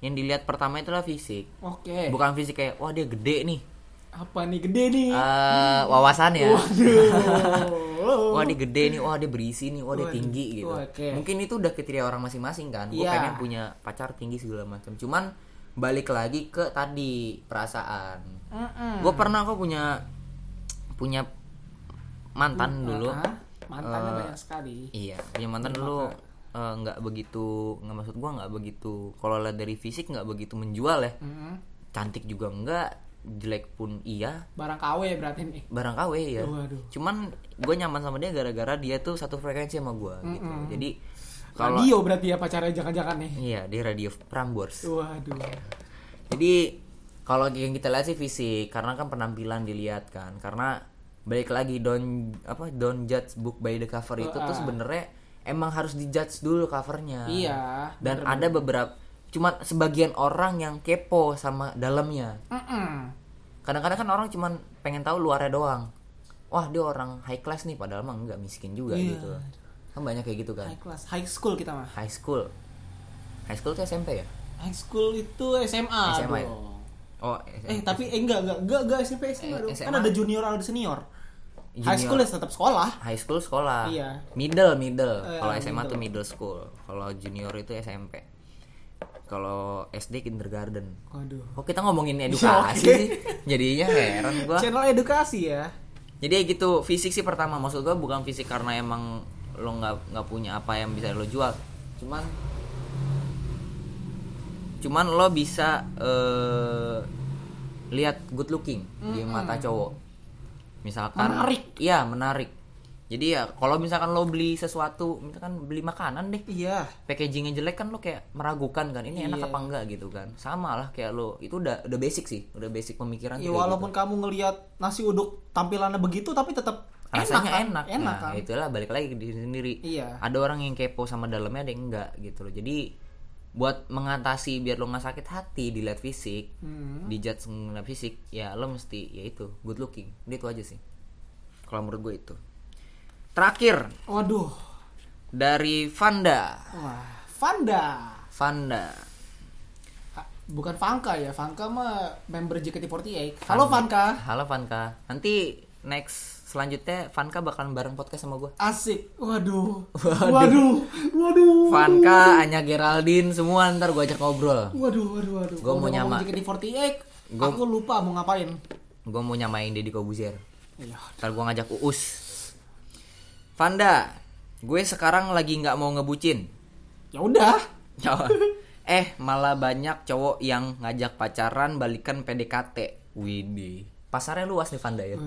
yang dilihat pertama itulah fisik
Oke.
bukan fisik kayak wah dia gede nih
Apa nih gede nih?
Eh, wawasan ya
Hmm. Waduh.
wah dia gede nih, wah dia berisi nih, wah dia
Waduh.
tinggi gitu.
Oke.
Mungkin itu udah kriteria orang masing-masing kan. Gue
Iya.
pengen punya pacar tinggi segala macam. Cuman balik lagi ke tadi perasaan.
Mm-mm.
Gue pernah kok punya punya mantan dulu.
Ah, mantannya
Eh,
banyak sekali.
Iya, punya mantan dulu eh, nggak begitu nggak maksud gua nggak begitu kalau lihat dari fisik nggak begitu menjual ya
Mm-mm.
cantik juga enggak jelek pun iya
Barang KW berarti nih.
barang KW ya.
Oh, Waduh.
Cuman gue nyaman sama dia gara-gara dia tuh satu frekuensi sama gue gitu. Jadi kalau
Radio berarti ya pacarnya jangan-jangan nih.
iya dia radio Prambors.
Waduh.
Jadi kalau yang kita lihat sih fisik karena kan penampilan dilihat kan. Karena balik lagi don apa don't judge book by the cover itu tuh sebenarnya emang harus dijudge dulu covernya.
Ah. Iya.
Dan ada beberapa cuman sebagian orang yang kepo sama dalamnya.
Mm-mm.
kadang-kadang kan orang cuman pengen tahu luarnya doang wah dia orang high class nih padahal mah nggak miskin juga
Iya.
gitu kan banyak kayak gitu kan
High class, high school kita mah.
high school high school tuh SMP ya
High school itu SMA,
SMA ya?
dong.
oh
Eh
SMP.
tapi eh, enggak enggak enggak enggak SMP SMA
Eh,
dong. Kan
SMA.
ada junior ada senior.
Junior.
High school ya tetap sekolah.
high school sekolah
Iya.
middle middle
Eh,
kalau SMA tuh middle school kalau junior itu SMP kalau SD kindergarten
Waduh.
kok kita ngomongin
Iya, oke.
edukasi sih jadinya heran gua
Channel edukasi ya.
jadi gitu fisik sih pertama maksud gua bukan fisik karena emang lo nggak nggak punya apa yang bisa lo jual cuman cuman lo bisa eh, lihat good looking di mata cowok misalkan
Hmm. Menarik.
iya menarik jadi ya kalau misalkan lo beli sesuatu misalkan beli makanan deh
Iya.
packagingnya jelek kan lo kayak meragukan kan ini
Iya.
enak apa enggak gitu kan sama lah kayak lo itu udah udah basic sih udah basic pemikiran
Ya
tuh kayak gitu
walaupun kamu ngelihat nasi uduk tampilannya begitu tapi tetap
rasanya
kan?
enak, nah
Enak kan?
itulah balik lagi ke diri sendiri
Iya.
ada orang yang kepo sama dalamnya ada yang enggak gitu loh jadi buat mengatasi biar lo nggak sakit hati dilihat fisik
Hmm.
dijudge ngeliat fisik ya lo mesti ya itu good looking Udah itu aja sih kalau menurut gue itu terakhir
Waduh.
dari Vanda
Wah, Vanda.
Vanda
Ah, Bukan Vanka ya, Vanka mah member JKT48. Halo Vanka.
halo Vanka nanti next selanjutnya Vanka bakalan bareng podcast sama gue
Asik. Waduh. Waduh. Waduh.
Vanka Anya Geraldine semua ntar gue ajak ngobrol
Waduh, waduh, waduh.
Gua mau nyama.
JKT48.
Gua-
Aku lupa mau ngapain.
gue mau nyamain Deddy Kobuzier
Iya.
Ntar gue ngajak Uus Vanda Gue sekarang lagi nggak mau ngebucin
Ya udah.
Jawab. Eh malah banyak cowok yang ngajak pacaran balikan PDKT. Widih. Pasarnya luas nih Vanda ya.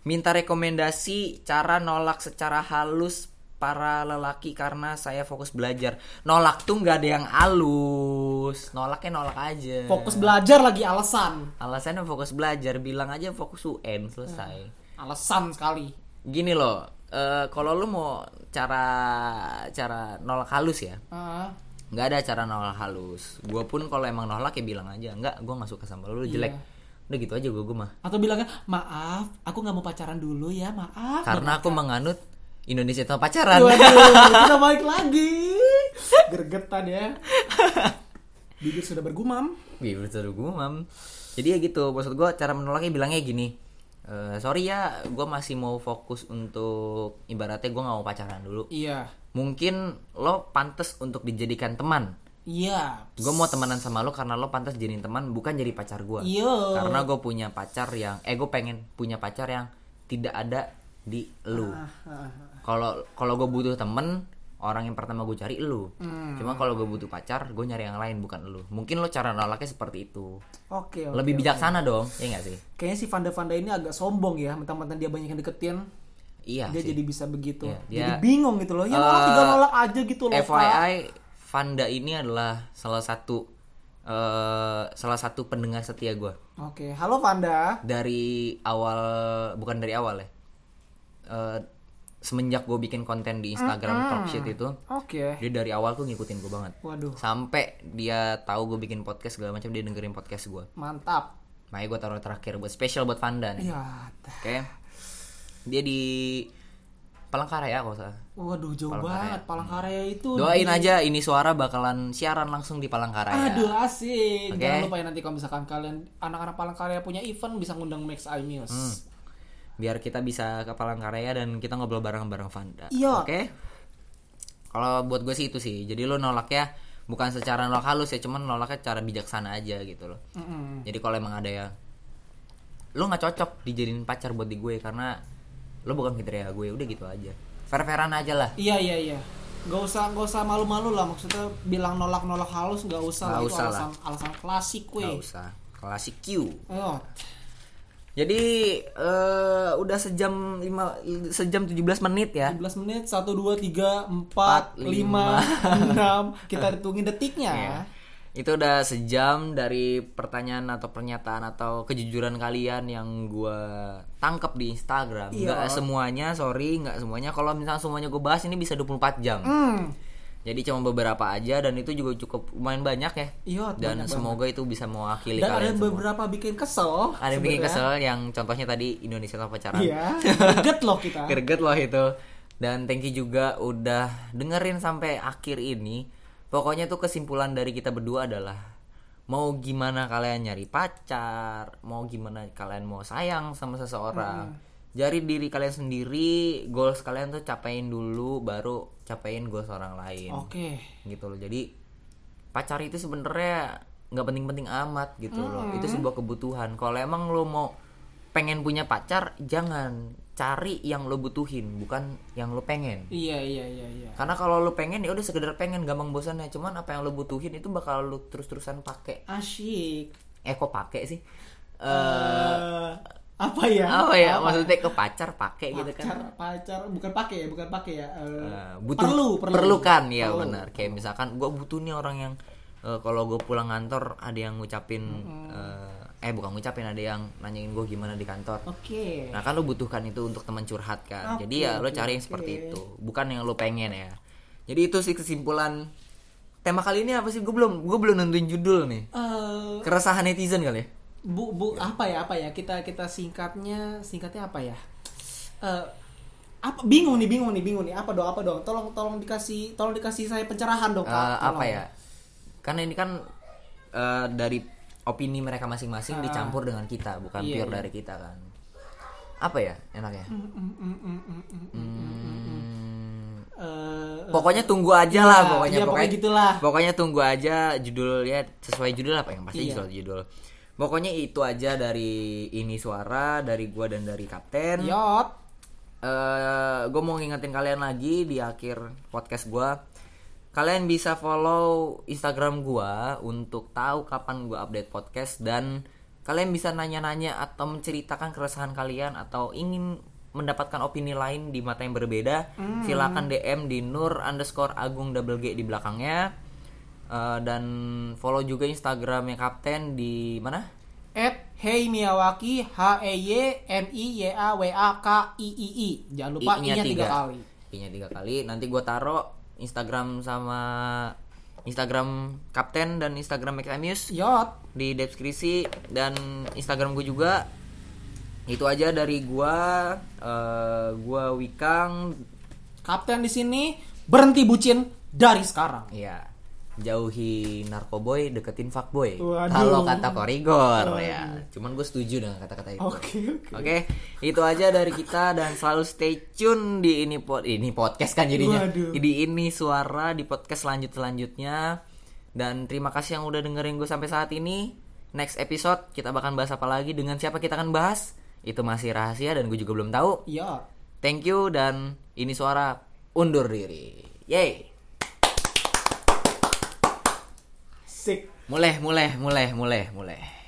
Minta rekomendasi cara nolak secara halus para lelaki karena saya fokus belajar. Nolak tuh nggak ada yang halus. Nolaknya nolak aja.
Fokus belajar lagi alasan.
Alasannya fokus belajar, bilang aja fokus UN selesai.
Alasan sekali.
Gini loh, eh, kalau lu mau cara cara nolak halus ya,
Ah,
nggak ada cara nolak halus. Gua pun kalau emang nolak ya bilang aja, nggak, gua nggak suka sama lu, lu jelek. Udah gitu aja gua, gua mah.
atau bilangnya maaf, aku nggak mau pacaran dulu ya, maaf.
Karena aku menganut Indonesia tanpa pacaran.
Waduh, kita balik lagi. Gergetan ya. Bibir sudah bergumam.
Wih, Iya, betul gumam. Jadi ya gitu, maksud gua cara menolaknya bilangnya gini. "Eh, sorry ya, gua masih mau fokus untuk ibaratnya gua nggak mau pacaran dulu.
Iya.
Mungkin lo pantas untuk dijadikan teman.
Iya.
Gue mau temenan sama lo karena lo pantas jadiin teman bukan jadi pacar gua
Yo.
Karena gue punya pacar yang, eh gue pengen punya pacar yang tidak ada di lu.
Ah,
Kalau kalau gue butuh temen, orang yang pertama gue cari lu.
Hmm.
Cuma kalau gue butuh pacar, gue nyari yang lain bukan lu. Mungkin lo cara nolaknya seperti itu.
Oke. oke.
Lebih bijaksana dong, ya nggak sih?
Kayaknya si Vanda Vanda ini agak sombong ya, mentang-mentang dia banyak yang deketin,
Iya.
dia
sih.
jadi bisa begitu.
Iya, dia-
Jadi bingung gitu loh. Ya nolak
Eh,
tiga nolak aja gitu loh. Kak.
FYI, Vanda ini adalah salah satu eh salah satu pendengar setia gue.
Oke, halo Vanda.
dari awal bukan dari awal ya Eh, semenjak gue bikin konten di Instagram Talksheet itu
Oke.
dia dari awal tuh ngikutin gue banget
Waduh,
sampai dia tahu gue bikin podcast segala macam dia dengerin podcast gue
mantap.
makanya gue taruh terakhir buat spesial buat Vanda nih
Ya, t-
oke dia di Palangkaraya kalau nggak salah
waduh jauh banget
Hmm.
Palangkaraya itu.
doain
di-
aja ini suara bakalan siaran langsung di Palangkaraya
Aduh asik.
Oke.
Jangan lupa ya nanti kalau misalkan kalian anak-anak Palangkaraya punya event bisa ngundang Max Imus.
Hmm. biar kita bisa ke Palangkaraya dan kita ngobrol bareng-bareng Vanda.
Iya.
Oke. Kalau buat gue sih itu sih. Jadi lo nolaknya bukan secara nolak halus ya, cuman nolaknya cara bijaksana aja gitu loh.
Mm-mm.
Jadi kalau emang ada ya lo nggak cocok dijadiin pacar buat di gue karena lo bukan kriteria gue, udah gitu aja. Fair-fairan aja lah.
Iya iya iya. Gak usah gak usah malu-malu lah maksudnya bilang nolak-nolak halus gak usah
Nggak
lah itu
usah
alasan alasan klasik
Gak
weh.
usah. Klasik Q.
Oh,
Jadi eh, udah sejam lima sejam 17 menit ya.
17 menit 1 2 3 4 5 6 kita hitungin detiknya.
Iya. Itu udah sejam dari pertanyaan atau pernyataan atau kejujuran kalian yang gua tangkap di Instagram.
Iya.
Nggak semuanya, sorry, nggak semuanya. Kalau misalnya semuanya gue bahas ini bisa 24 jam.
Hmm.
Jadi cuma beberapa aja dan itu juga cukup lumayan banyak ya.
Iya,
dan
banyak
semoga itu bisa mewakili
Dan ada
kalian semua.
beberapa bikin kesel.
Ada yang bikin
sebenarnya.
kesel yang contohnya tadi Indonesia tanpa pacaran.
Iya. Greget loh kita.
Greget loh itu. Dan thank you juga udah dengerin sampai akhir ini. Pokoknya tuh kesimpulan dari kita berdua adalah mau gimana kalian nyari pacar, mau gimana kalian mau sayang sama
Hmm.
seseorang. Jadi diri kalian sendiri, goals kalian tuh capain dulu baru capain goals orang lain.
Oke.
Gitu loh. Jadi pacar itu sebenarnya nggak penting-penting amat gitu loh. Itu sebuah kebutuhan. Kalau emang lo mau pengen punya pacar, jangan cari yang lo butuhin, bukan yang lo pengen.
Iya iya iya iya.
Karena kalau lo pengen ya udah sekedar pengen gampang bosannya. Cuman apa yang lo butuhin itu bakal lo terus-terusan pakai.
Asyik.
Eh kok pakai sih? Eh
Eh, apa ya?
apa ya? Maksudnya ke pacar pakai gitu kan.
pacar pacar bukan pakai ya bukan pakai ya eh,
Eh, butuh
perlu perlu
perlukan ya
Perlu.
benar kayak misalkan gue butuh nih orang yang eh, kalau gue pulang kantor ada yang ngucapin eh, eh bukan ngucapin ada yang nanyain gue gimana di kantor
oke
nah kan lo butuhkan itu untuk teman curhat kan jadi ya lo cari yang seperti itu bukan yang lo pengen ya jadi itu sih kesimpulan tema kali ini apa sih gue belum gue belum nentuin judul nih
Eh,
keresahan netizen kali ya
bu bu apa ya apa ya kita kita singkatnya singkatnya apa ya Eh, apa bingung nih bingung nih bingung nih apa dong apa dong tolong tolong dikasih tolong dikasih saya pencerahan dong
Eh,
Kak. Tolong.
apa ya karena ini kan eh, dari opini mereka masing-masing dicampur dengan kita bukan
Ah. Iya,
pure
iya.
dari kita kan apa ya enaknya
Mm, mm, mm, mm, mm, mm, mm, mm, mm.
Hmm,
Eh, eh,
pokoknya tunggu aja lah
iya,
Ah, pokoknya
iya, pokoknya gitulah.
pokoknya tunggu aja judul ya sesuai judul apa yang pasti
Iya.
sesuai judul pokoknya itu aja dari ini suara dari gua dan dari kapten
yot
Eh, gue mau ngingetin kalian lagi di akhir podcast gue Kalian bisa follow Instagram gua untuk tahu kapan gua update podcast dan kalian bisa nanya-nanya atau menceritakan keresahan kalian atau ingin mendapatkan opini lain di mata yang berbeda, silakan DM di Nur underscore Agung double G di belakangnya Eh, dan follow juga Instagramnya Kapten di mana?
At Hey Miyawaki H E Y M I Y A W A K I I I. Jangan lupa
I-nya
I-nya tiga kali.
I-nya tiga kali. Nanti gue taro Instagram sama Instagram Kapten dan Instagram Make Amuse
Yot.
di deskripsi dan Instagram gue juga. Itu aja dari gua eh gua Wikang.
Kapten di sini berhenti bucin dari sekarang.
Ya. Jauhi narkoboy, deketin fuckboy.
Waduh.
Kalau kata Korigor ya. Cuman gue setuju dengan kata-kata itu.
Oke.
Oke, itu aja dari kita dan selalu stay tune di ini pod ini podcast kan jadinya.
Waduh.
Di ini suara di podcast selanjut selanjutnya. Dan terima kasih yang udah dengerin gue sampai saat ini. Next episode kita bakal bahas apa lagi dengan siapa kita akan bahas itu masih rahasia dan gue juga belum tahu.
Yot.
Thank you dan ini suara undur diri. Yay.
Sick.
Mulai, mulai, mulai, mulai, mulai.